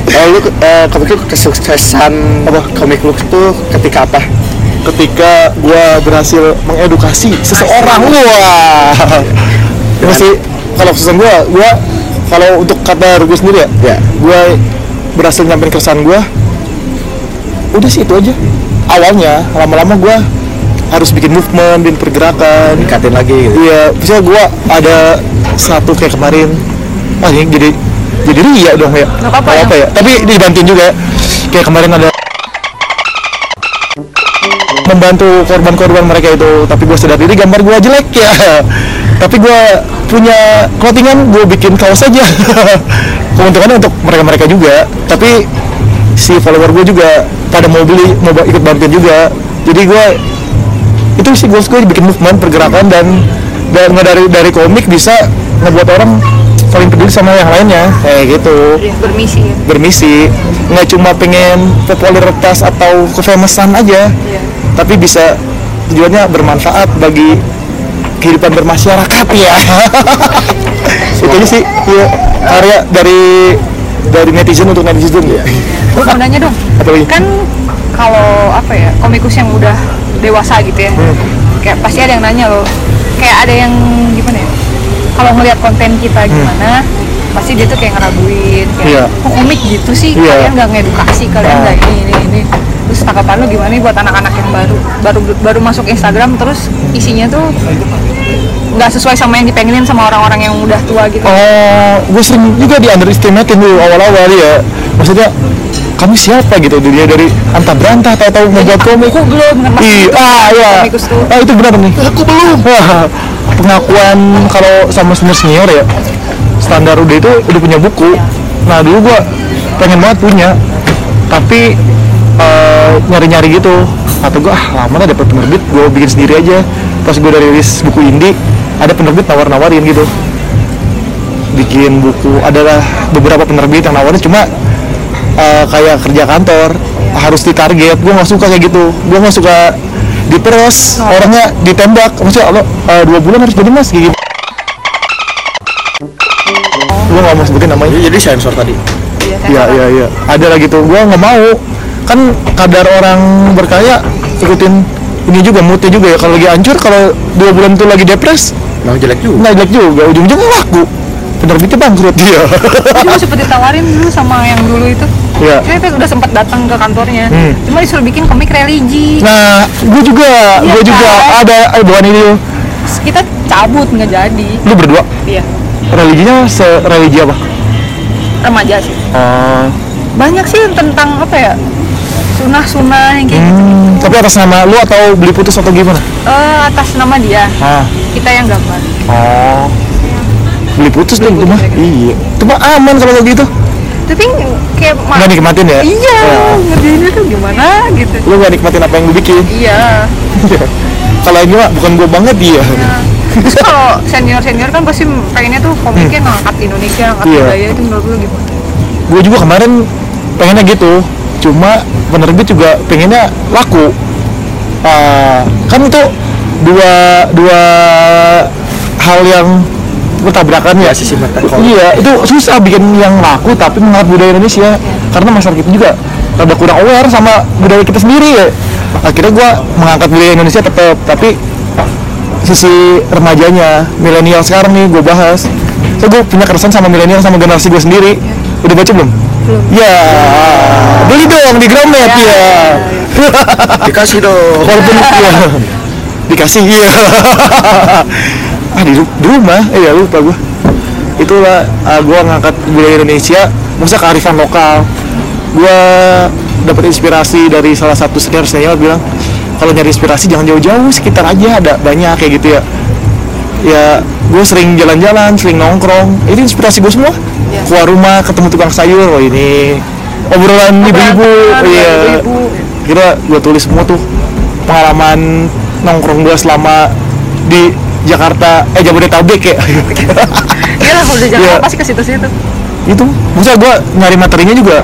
Speaker 4: Iya, Eh, lu eh, kamu tuh kesuksesan apa komik lu tuh ketika apa
Speaker 3: Ketika gua berhasil mengedukasi seseorang wah. Masih kalau kesan gua, gua kalau untuk kabar gue sendiri ya,
Speaker 4: Ya.
Speaker 3: gua berhasil nyampein kesan gua. Udah sih itu aja. Awalnya lama-lama gua harus bikin movement, bikin pergerakan,
Speaker 4: ningkatin lagi gitu
Speaker 3: Iya, misalnya gua ada satu kayak kemarin. Ah, ini jadi jadi ria dong ya. Enggak
Speaker 1: apa-apa,
Speaker 3: ya. Tapi dibantuin juga. ya. Kayak kemarin ada membantu korban-korban mereka itu, tapi gua sadar diri gambar gua jelek ya. Tapi gua punya clothingan, gua bikin kaos aja. Keuntungannya untuk mereka-mereka juga, tapi si follower gua juga pada mau beli, mau ba- ikut bantuin juga. Jadi gua itu sih goals gue bikin movement pergerakan dan dan nggak dari dari komik bisa ngebuat orang saling peduli sama yang lainnya kayak gitu
Speaker 1: Ya, bermisi ya.
Speaker 3: bermisi nggak cuma pengen popularitas atau kefamousan aja tapi bisa tujuannya bermanfaat bagi kehidupan bermasyarakat ya itu aja sih iya, karya dari dari netizen untuk netizen ya
Speaker 1: Terus mau nanya dong,
Speaker 3: apa lagi
Speaker 1: kan kalau apa ya komikus yang udah dewasa gitu ya
Speaker 3: Hmm.
Speaker 1: kayak pasti ada yang nanya loh kayak ada yang gimana ya kalau ngelihat konten kita gimana pasti dia tuh kayak ngeraguin
Speaker 3: Hmm. Iya.
Speaker 1: kayak kok komik gitu sih
Speaker 3: Iya. Nah.
Speaker 1: kalian nggak ngedukasi kalian nggak ini ini ini terus tanggapan lu gimana nih buat anak-anak yang baru baru baru masuk Instagram terus isinya tuh nggak sesuai sama yang dipengenin sama orang-orang yang udah tua gitu
Speaker 3: Oh, gue sering juga di underestimatein dulu awal-awal ya. Maksudnya kami siapa gitu dilihat dari antah berantah tahu-tahu membuat komik.
Speaker 1: aku belum ngerti
Speaker 3: Ih,
Speaker 1: gitu,
Speaker 3: ah iya.
Speaker 1: komikus tuh
Speaker 3: Ah itu benar nih. Aku belum. Wah, pengakuan kalau sama senior senior ya standar udah itu udah punya buku. Nah dulu gua pengen banget punya, tapi eh, nyari-nyari gitu. Atau gua ah lama lah dapet penerbit, gua bikin sendiri aja. Pas gua udah rilis buku indie, ada penerbit nawar-nawarin gitu bikin buku adalah beberapa penerbit yang nawarin cuma eh, kayak kerja kantor harus ditarget gue nggak suka kayak gitu gue nggak suka diperes orangnya ditembak maksudnya lo eh, dua bulan harus jadi mas kayak gitu gue nggak mau sebutin namanya
Speaker 4: jadi sensor tadi
Speaker 1: Iya, kan?
Speaker 3: Iya iya iya. Ada lagi tuh. Gua nggak mau. Kan kadar orang berkaya ikutin ini juga moodnya juga ya. Kalau lagi hancur, kalau dua bulan tuh lagi depres,
Speaker 4: nah jelek juga
Speaker 3: nggak jelek juga. Ujung-ujungnya laku. Penerbitnya bangkrut
Speaker 4: Iya.
Speaker 3: dia.
Speaker 1: Aku juga sempat ditawarin dulu sama yang dulu itu.
Speaker 3: Iya.
Speaker 1: Saya tuh udah sempat datang ke kantornya.
Speaker 3: Hmm.
Speaker 1: Cuma disuruh bikin komik religi.
Speaker 3: Nah, gue juga,
Speaker 1: Iya
Speaker 3: gue juga
Speaker 1: kan?
Speaker 3: ada eh, bukan ini.
Speaker 1: Terus kita cabut nggak jadi.
Speaker 3: Lu berdua
Speaker 1: Iya.
Speaker 3: religinya se religi apa?
Speaker 1: Remaja sih.
Speaker 3: Oh.
Speaker 1: Banyak sih yang tentang apa ya? Sunah-sunah yang kayak gitu.
Speaker 3: tapi atas nama lu atau beli putus atau gimana?
Speaker 1: Eh, atas nama dia.
Speaker 3: Ah.
Speaker 1: Kita yang gambar.
Speaker 3: Oh. Beli putus dong itu mah.
Speaker 1: putus, ya kan?
Speaker 3: Iya. Itu mah aman kalau kayak gitu.
Speaker 1: Tapi kayak ma-
Speaker 3: Nggak nikmatin ya?
Speaker 1: Iya,
Speaker 3: Ya.
Speaker 1: ngerjainnya tuh gimana gitu.
Speaker 3: lu gak nikmatin apa yang lu bikin
Speaker 1: Iya.
Speaker 3: kalau ini mah bukan gue banget iya. dia
Speaker 1: Nah, Terus kalau senior-senior kan pasti pengennya tuh komiknya ngangkat Indonesia, ngangkat
Speaker 3: Hmm. Iya.
Speaker 1: budaya itu menurut lu gimana?
Speaker 3: gue juga kemarin pengennya gitu cuma penerbit juga pengennya laku Ah, kan itu dua dua hal yang bertabrakan ya
Speaker 4: sisi bertengkar.
Speaker 3: iya itu susah bikin yang laku tapi mengangkat budaya Indonesia karena masyarakat kita juga rada kurang aware sama budaya kita sendiri ya akhirnya gue mengangkat budaya Indonesia tetap tapi sisi remajanya milenial sekarang nih gue bahas so gue punya keresahan sama milenial sama generasi gue sendiri udah baca belum belum ya beli dong di Gramet ya,
Speaker 4: dikasih dong
Speaker 3: walaupun ya dikasih iya ah di, ru- di rumah eh ya lupa gue itulah ah, gua ngangkat budaya Indonesia maksudnya kearifan lokal gua dapat inspirasi dari salah satu senior senior bilang kalau nyari inspirasi jangan jauh-jauh sekitar aja ada banyak kayak gitu ya ya gue sering jalan-jalan sering nongkrong itu inspirasi gue semua
Speaker 1: Iya.
Speaker 3: keluar rumah ketemu tukang sayur oh ini obrolan ibu-ibu
Speaker 1: Obrolan
Speaker 3: iya
Speaker 1: ibu-ibu.
Speaker 3: kira gue tulis semua tuh pengalaman nongkrong gue selama di Jakarta eh Jabodetabek ya
Speaker 1: Iya lah, kalau udah jangan
Speaker 3: Iya.
Speaker 1: pasti ke situ-situ.
Speaker 3: itu maksudnya gue nyari materinya juga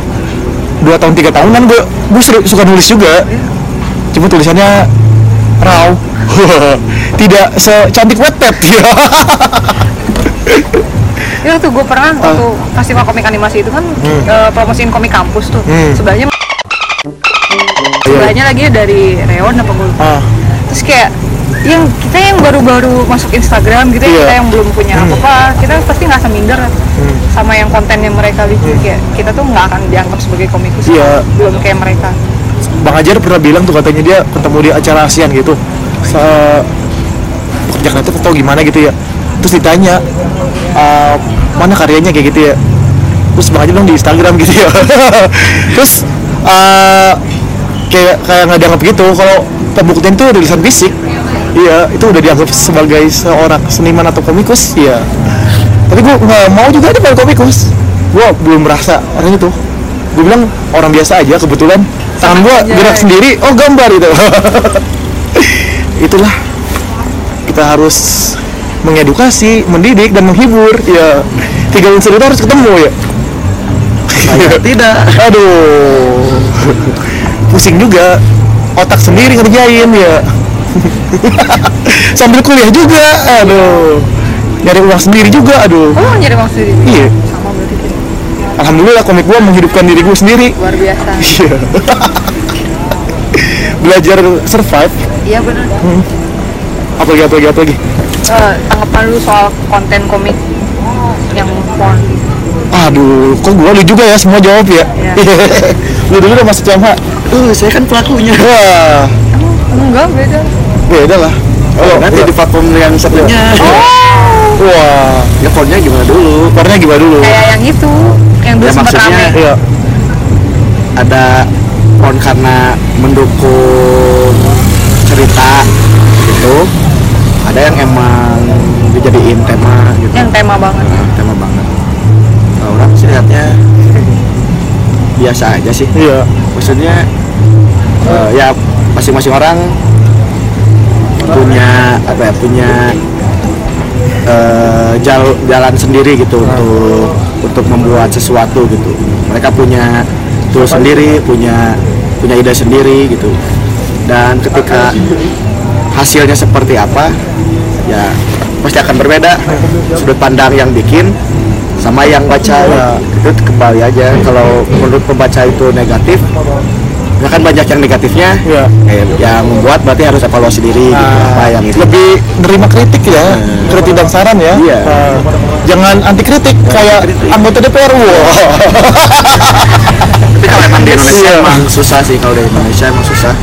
Speaker 3: dua tahun tiga tahunan gue gue suka nulis juga cuma tulisannya raw tidak secantik Wattpad ya
Speaker 1: itu tuh gue
Speaker 3: Ah.
Speaker 1: pernah Ya, waktu festival komik animasi itu kan
Speaker 3: Hmm.
Speaker 1: eh, promosiin komik kampus tuh sebelahnya sebelahnya lagi ya dari Reon apa gue lupa.
Speaker 3: Ah.
Speaker 1: terus kayak yang kita yang baru-baru masuk Instagram gitu ya,
Speaker 3: Iya. Hmm.
Speaker 1: kita yang belum punya apa-apa kita pasti nggak minder sama yang kontennya mereka lucu kayak kita tuh nggak akan dianggap sebagai komikus
Speaker 3: Iya.
Speaker 1: belum kayak mereka
Speaker 3: Bang Ajar pernah bilang tuh katanya dia ketemu di acara ASEAN gitu Se pekerja kreatif atau gimana gitu ya terus ditanya "Eh, mana karyanya kayak gitu ya terus Bang Ajar bilang di Instagram gitu ya terus eh, kayak kayak nggak dianggap gitu kalau pembuktian tuh rilisan fisik iya itu udah dianggap sebagai seorang seniman atau komikus iya tapi gue nggak mau juga ada komikus gue belum merasa orang itu gue bilang orang biasa aja kebetulan tangan gue
Speaker 1: aja.
Speaker 3: gerak sendiri oh gambar gitu itulah kita harus mengedukasi mendidik dan menghibur ya tiga unsur itu harus ketemu ya tidak aduh pusing juga otak sendiri ngerjain ya sambil kuliah juga aduh nyari uang sendiri juga aduh
Speaker 1: kamu mau Oh, nyari uang sendiri
Speaker 3: Iya.
Speaker 1: sama berarti kita.
Speaker 3: Alhamdulillah komik gua menghidupkan diri gua sendiri.
Speaker 1: luar biasa
Speaker 3: Iya. Belajar survive.
Speaker 1: iya benar
Speaker 3: Hmm. Apa lagi apa lagi apa lagi?
Speaker 1: Eh, tanggapan lu soal konten komik yang porn
Speaker 3: Aduh, kok gua lu juga ya semua jawab ya.
Speaker 1: Iya.
Speaker 3: lu dulu udah masuk CMH.
Speaker 4: Uh, saya kan pelakunya.
Speaker 3: Wah,
Speaker 1: enggak beda
Speaker 3: beda lah. Oh,
Speaker 4: Nanti di platform yang satunya.
Speaker 1: Oh.
Speaker 3: Wah,
Speaker 4: Ya pornnya gimana dulu?
Speaker 3: warnanya gimana dulu?
Speaker 1: kayak yang itu yang dulu
Speaker 4: Ya
Speaker 1: sempat
Speaker 4: maksudnya
Speaker 1: rame
Speaker 3: Iya.
Speaker 4: ada porn karena mendukung cerita gitu. Ada yang emang dijadiin tema gitu.
Speaker 1: yang tema banget
Speaker 4: Nah, tema banget. Kalau orang sih lihatnya biasa aja sih.
Speaker 3: Iya.
Speaker 4: maksudnya eh, ya masing-masing orang punya apa ya punya eh, jal- jalan sendiri gitu untuk untuk membuat sesuatu gitu mereka punya tools sendiri punya punya ide sendiri gitu dan ketika hasilnya seperti apa ya pasti akan berbeda sudut pandang yang bikin sama yang baca ya, itu kembali aja kalau menurut pembaca itu negatif ya kan banyak yang negatifnya
Speaker 3: Iya. Nah,
Speaker 4: Eh, yang membuat berarti harus evaluasi diri gitu, apa yang itu
Speaker 3: Lebih nerima kritik ya, kritik dan saran ya.
Speaker 4: Iya.
Speaker 3: Nah, jangan anti kritik kayak anggota DPR. Wah.
Speaker 4: tapi kalau emang di Indonesia
Speaker 3: Iya.
Speaker 4: emang susah sih kalau di Indonesia emang susah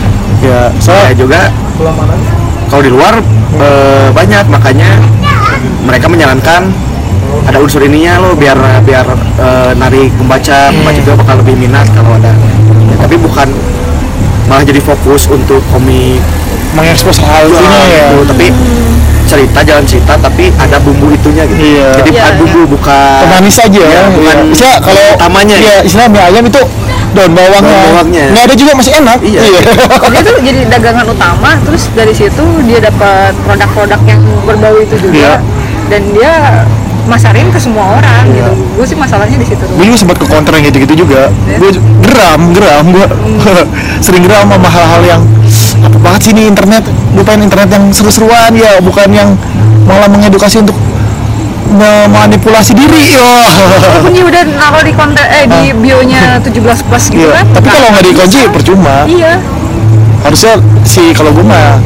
Speaker 3: Ya,
Speaker 4: saya
Speaker 3: soalnya
Speaker 4: juga kalau di luar eh, banyak makanya mereka menyarankan ada unsur ininya loh biar biar eh, narik pembaca pembaca juga bakal lebih minat kalau ada Ya, tapi bukan malah jadi fokus untuk komik
Speaker 3: mengekspos hal ini ya.
Speaker 4: gitu. tapi cerita jalan cerita tapi ada bumbu itunya gitu
Speaker 3: Iya.
Speaker 4: jadi
Speaker 1: Iya,
Speaker 4: bukan
Speaker 1: iya.
Speaker 4: bumbu bukan
Speaker 3: pemanis aja ya,
Speaker 4: bukan
Speaker 3: Istilah kalau
Speaker 4: Iya, utamanya.
Speaker 3: ya istilah mie ayam itu daun bawangnya,
Speaker 4: Daun bawangnya.
Speaker 3: nggak ada juga masih enak
Speaker 4: Iya.
Speaker 1: dia tuh jadi dagangan utama terus dari situ dia dapat produk-produk yang berbau itu juga
Speaker 3: Iya.
Speaker 1: dan dia masarin ke semua orang gitu gue sih masalahnya di situ
Speaker 3: gue
Speaker 1: doang.
Speaker 3: juga sempat ke kontra yang gitu-gitu juga
Speaker 4: Iya.
Speaker 3: gue ju- geram geram gue sering geram sama hal-hal yang apa banget sih ini internet gue pengen internet yang seru-seruan ya bukan yang malah mengedukasi untuk memanipulasi diri ya
Speaker 1: walaupun dia udah naruh di konten eh di bionya 17 plus gitu
Speaker 3: Ah. Iya,
Speaker 1: kan
Speaker 3: tapi kalau nggak dikunci percuma
Speaker 1: iya
Speaker 3: harusnya si kalau gue mah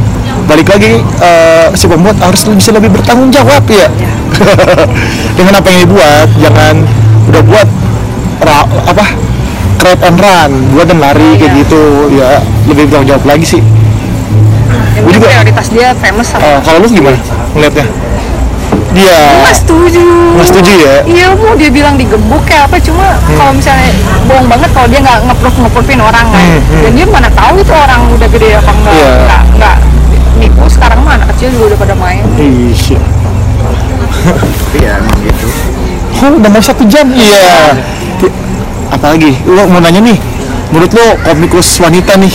Speaker 3: balik lagi eh, si pembuat harus bisa lebih bertanggung jawab ya dengan apa yang dibuat jangan udah buat ra- apa crowd and run buat dan lari kayak
Speaker 1: Iya.
Speaker 3: gitu ya lebih bertanggung jawab lagi sih
Speaker 1: yang
Speaker 3: Gua
Speaker 1: penting
Speaker 3: juga-
Speaker 1: prioritas dia famous sama
Speaker 3: Eh, kalau lu gimana ngeliatnya dia
Speaker 1: Nggak setuju.
Speaker 3: Nggak setuju ya?
Speaker 1: Iya, mau dia bilang digebuk kayak apa cuma
Speaker 3: Hmm.
Speaker 1: kalau misalnya bohong banget kalau dia nggak ngeproof ngeproofin orang kan. Dan dia mana tahu itu orang udah gede apa enggak.
Speaker 3: Hmm, Iya.
Speaker 1: Enggak, enggak. Nipu sekarang mah anak kecil juga udah pada main.
Speaker 3: Ih,
Speaker 4: tapi ya emang gitu
Speaker 3: Oh, udah mau satu jam? Iya. Ti- Apalagi, lo mau nanya nih, menurut lo komikus wanita nih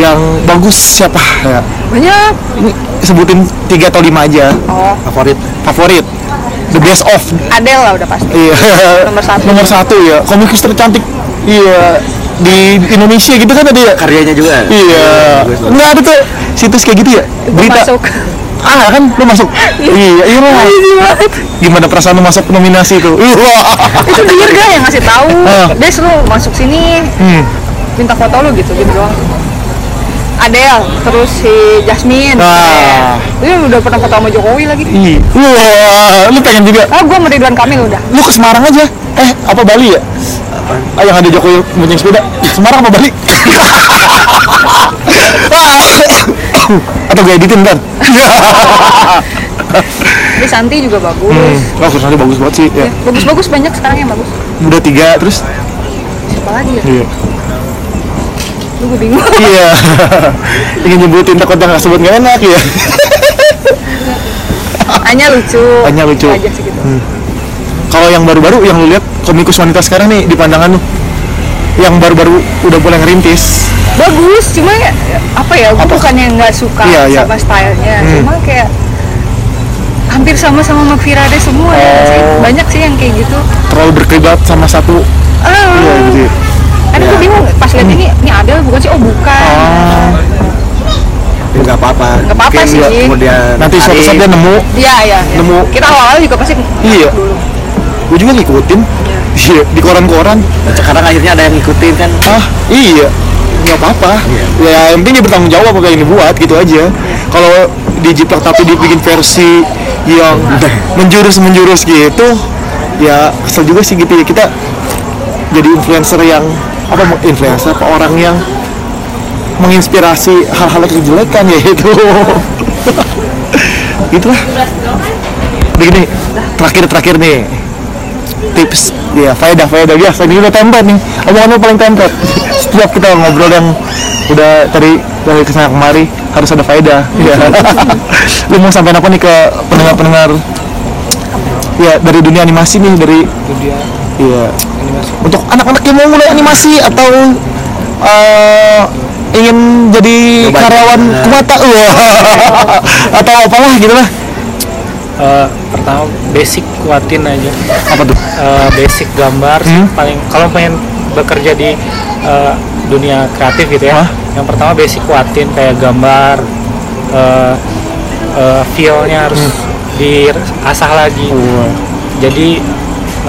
Speaker 3: yang bagus siapa? Ya.
Speaker 1: Banyak.
Speaker 3: Ini sebutin tiga atau lima aja
Speaker 1: Oh,
Speaker 4: favorit
Speaker 3: favorit. The best of.
Speaker 1: Adele lah udah pasti.
Speaker 3: Iya.
Speaker 1: Nomor satu.
Speaker 3: Nomor satu ya. Komikus tercantik. Iya. di Indonesia gitu kan ada ya
Speaker 4: karyanya juga
Speaker 3: iya nggak ada tuh situs kayak gitu ya berita
Speaker 1: masuk
Speaker 3: ah kan lu masuk iya iya lah. gimana perasaan lu masuk nominasi itu Wah.
Speaker 1: itu dirga yang ngasih tahu
Speaker 3: Ah.
Speaker 1: des lu masuk sini
Speaker 3: hmm.
Speaker 1: minta foto lu gitu gitu doang Adele, terus si Jasmine,
Speaker 3: Ah.
Speaker 1: Dia udah pernah foto sama Jokowi lagi.
Speaker 3: iya Wah, Iya. lu pengen juga
Speaker 1: Oh, gue sama Ridwan Kamil udah.
Speaker 3: lu ke Semarang aja eh apa Bali ya ah yang ada Jokowi punya sepeda Semarang apa Bali atau gue editin kan
Speaker 1: Di Santi juga bagus.
Speaker 3: wah kursannya bagus banget sih ya.
Speaker 1: Bagus-bagus banyak sekarang yang bagus.
Speaker 3: udah tiga terus
Speaker 1: Siapa lagi ya?
Speaker 3: iya
Speaker 1: Lu gue bingung.
Speaker 3: iya ingin nyebutin takut yang sebut nggak enak ya
Speaker 1: Hanya lucu.
Speaker 3: Anya lucu. Hmm.
Speaker 1: Itu Aja sih gitu.
Speaker 3: kalau yang baru-baru yang lu lihat komikus wanita sekarang nih di pandangan lu yang baru-baru udah mulai ngerintis
Speaker 1: Bagus, cuma ya, apa ya? Gue bukannya nggak suka
Speaker 3: Iya, iya.
Speaker 1: sama stylenya, cuma kayak hampir sama sama sama Virade semua ya nggak sih?
Speaker 3: Oh.
Speaker 1: banyak sih yang kayak gitu
Speaker 3: terlalu berkelibat sama satu
Speaker 1: ah
Speaker 3: ya, gitu ya.
Speaker 1: aduh gue Kan bingung pas lihat ini ini Adele bukan sih oh bukan
Speaker 3: Ah.
Speaker 4: nggak apa-apa
Speaker 1: Nggak apa-apa
Speaker 4: Mungkin
Speaker 1: sih.
Speaker 4: juga kemudian
Speaker 3: Iya. nanti suatu
Speaker 4: Arif,
Speaker 3: saat dia nemu
Speaker 1: Iya, iya. iya.
Speaker 3: Nemu.
Speaker 1: Kita awal-awal juga pasti
Speaker 3: iya gue juga ngikutin iya di koran-koran
Speaker 4: sekarang akhirnya ada yang ngikutin kan
Speaker 3: ah iya nggak apa-apa ya yang penting dia bertanggung jawab apa yang dibuat gitu aja kalau dijiplak tapi dibikin versi yang menjurus menjurus gitu ya kesel juga sih gitu ya kita jadi influencer yang apa mau- influencer apa orang yang menginspirasi hal-hal yang kejelekan ya itu gitulah begini terakhir terakhir nih tips ya faedah faedah biasa ini udah template nih omongan lu paling template setiap kita ngobrol yang udah tadi dari kesana kemari harus ada faedah ya lu mau sampein apa nih ke pendengar pendengar ya dari dunia animasi nih dari iya untuk anak-anak yang mau mulai animasi atau eh, ingin jadi
Speaker 4: Coba.
Speaker 3: karyawan
Speaker 4: Nah.
Speaker 3: kumata wah. atau apalah gitu lah
Speaker 6: Eh, pertama basic kuatin aja
Speaker 3: apa tuh
Speaker 6: Eh, basic gambar sih paling kalau pengen bekerja di eh, dunia kreatif gitu ya
Speaker 3: Hah?
Speaker 6: yang pertama basic kuatin kayak gambar eh eh, feel-nya harus diasah lagi jadi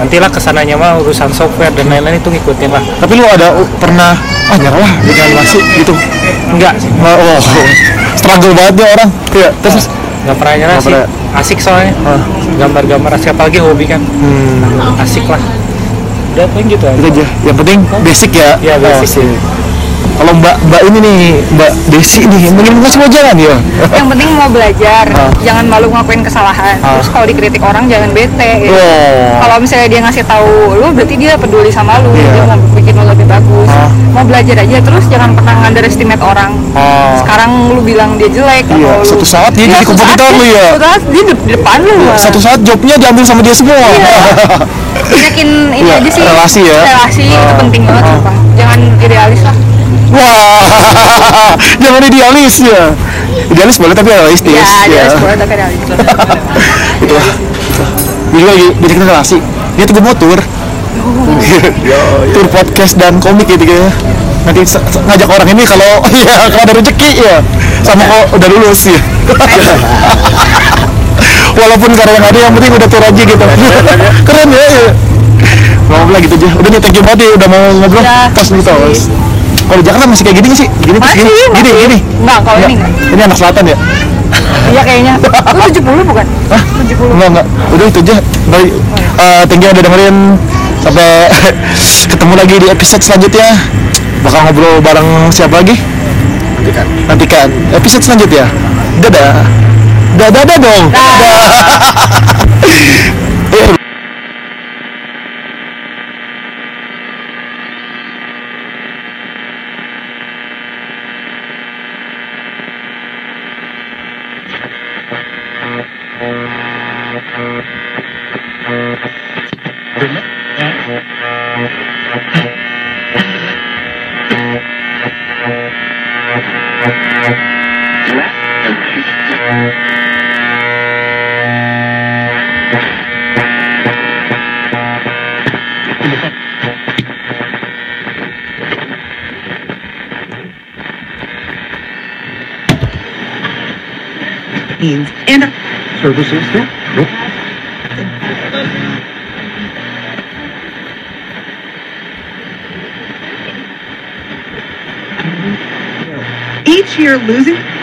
Speaker 6: nantilah kesananya mah urusan software dan lain-lain itu ngikutin lah
Speaker 3: tapi lu ada uh, pernah ah nyerah lah bikin animasi gitu
Speaker 6: enggak sih
Speaker 3: Wah, wah, struggle banget ya orang. Iya, terus
Speaker 6: nggak pernah nyerah
Speaker 3: Nggak
Speaker 6: sih
Speaker 3: pernah. Ah.
Speaker 6: asik soalnya gambar-gambar asik apalagi hobi kan
Speaker 3: Hmm.
Speaker 6: asik lah udah paling gitu
Speaker 3: itu
Speaker 6: aja
Speaker 3: aja. Yang penting basic ya.
Speaker 6: ya basic sih
Speaker 3: Kalau Mbak Mbak ini nih, Mbak Desi nih, mungkin nggak semua jalan ya.
Speaker 1: yang penting mau belajar,
Speaker 3: Ah.
Speaker 1: jangan malu ngakuin kesalahan. Terus kalau dikritik orang jangan bete. gitu.
Speaker 3: Oh,
Speaker 1: Kalau misalnya dia ngasih tahu lu berarti dia peduli sama lu,
Speaker 3: Iya.
Speaker 1: dia mau bikin lu lebih bagus. Mau belajar aja terus jangan pernah underestimate orang.
Speaker 3: Ah.
Speaker 1: Sekarang lu bilang dia jelek
Speaker 3: Iya,
Speaker 1: atau lu-
Speaker 3: satu saat dia
Speaker 1: Iya,
Speaker 3: jadi
Speaker 1: satu saat
Speaker 3: kompetitor lu
Speaker 1: dia-
Speaker 3: ya. Iya,
Speaker 1: Satu saat dia di depan lu. lah.
Speaker 3: satu saat jobnya diambil sama dia semua.
Speaker 1: Iya. Yakin ini
Speaker 3: Iya,
Speaker 1: aja sih.
Speaker 3: relasi ya. Ah.
Speaker 1: Relasi itu penting banget, sumpah. Jangan idealis lah.
Speaker 3: Wah, jangan idealis ya. Idealis boleh tapi realistis.
Speaker 1: Ya,
Speaker 3: ya.
Speaker 1: idealis boleh tapi realis lah.
Speaker 3: Itulah. Gue juga lagi banyak relasi. Dia tuh gue mau tour. tour podcast dan komik gitu kayaknya. Nanti se- se- ngajak orang ini kalau ya kalau ada rezeki ya. Sama kalau udah lulus ya. Walaupun karena nggak ada yang penting udah tour aja gitu. Keren ya. ya. Ngomong lagi gitu aja. Udah nih thank you banget ya, udah mau ngobrol.
Speaker 1: Ya,
Speaker 3: Tos nih tos.
Speaker 1: makasih.
Speaker 3: Kalau di Jakarta masih kayak gini nggak sih? Gini terus
Speaker 1: Masih,
Speaker 3: gini. Gini
Speaker 1: masih.
Speaker 3: gini. Iya.
Speaker 1: Enggak, kalau ini enggak.
Speaker 3: Ini anak selatan ya?
Speaker 1: Iya kayaknya. Lu 70 bukan?
Speaker 3: Hah? Enggak, enggak. Udah itu aja. Baik. Eh thank you udah dengerin. Sampai ketemu lagi di episode selanjutnya. Bakal ngobrol bareng siapa lagi?
Speaker 4: Nantikan.
Speaker 3: Nantikan episode selanjutnya. Dadah. Dadah, dadah dong.
Speaker 5: means and services. Yeah. Nope. Each year losing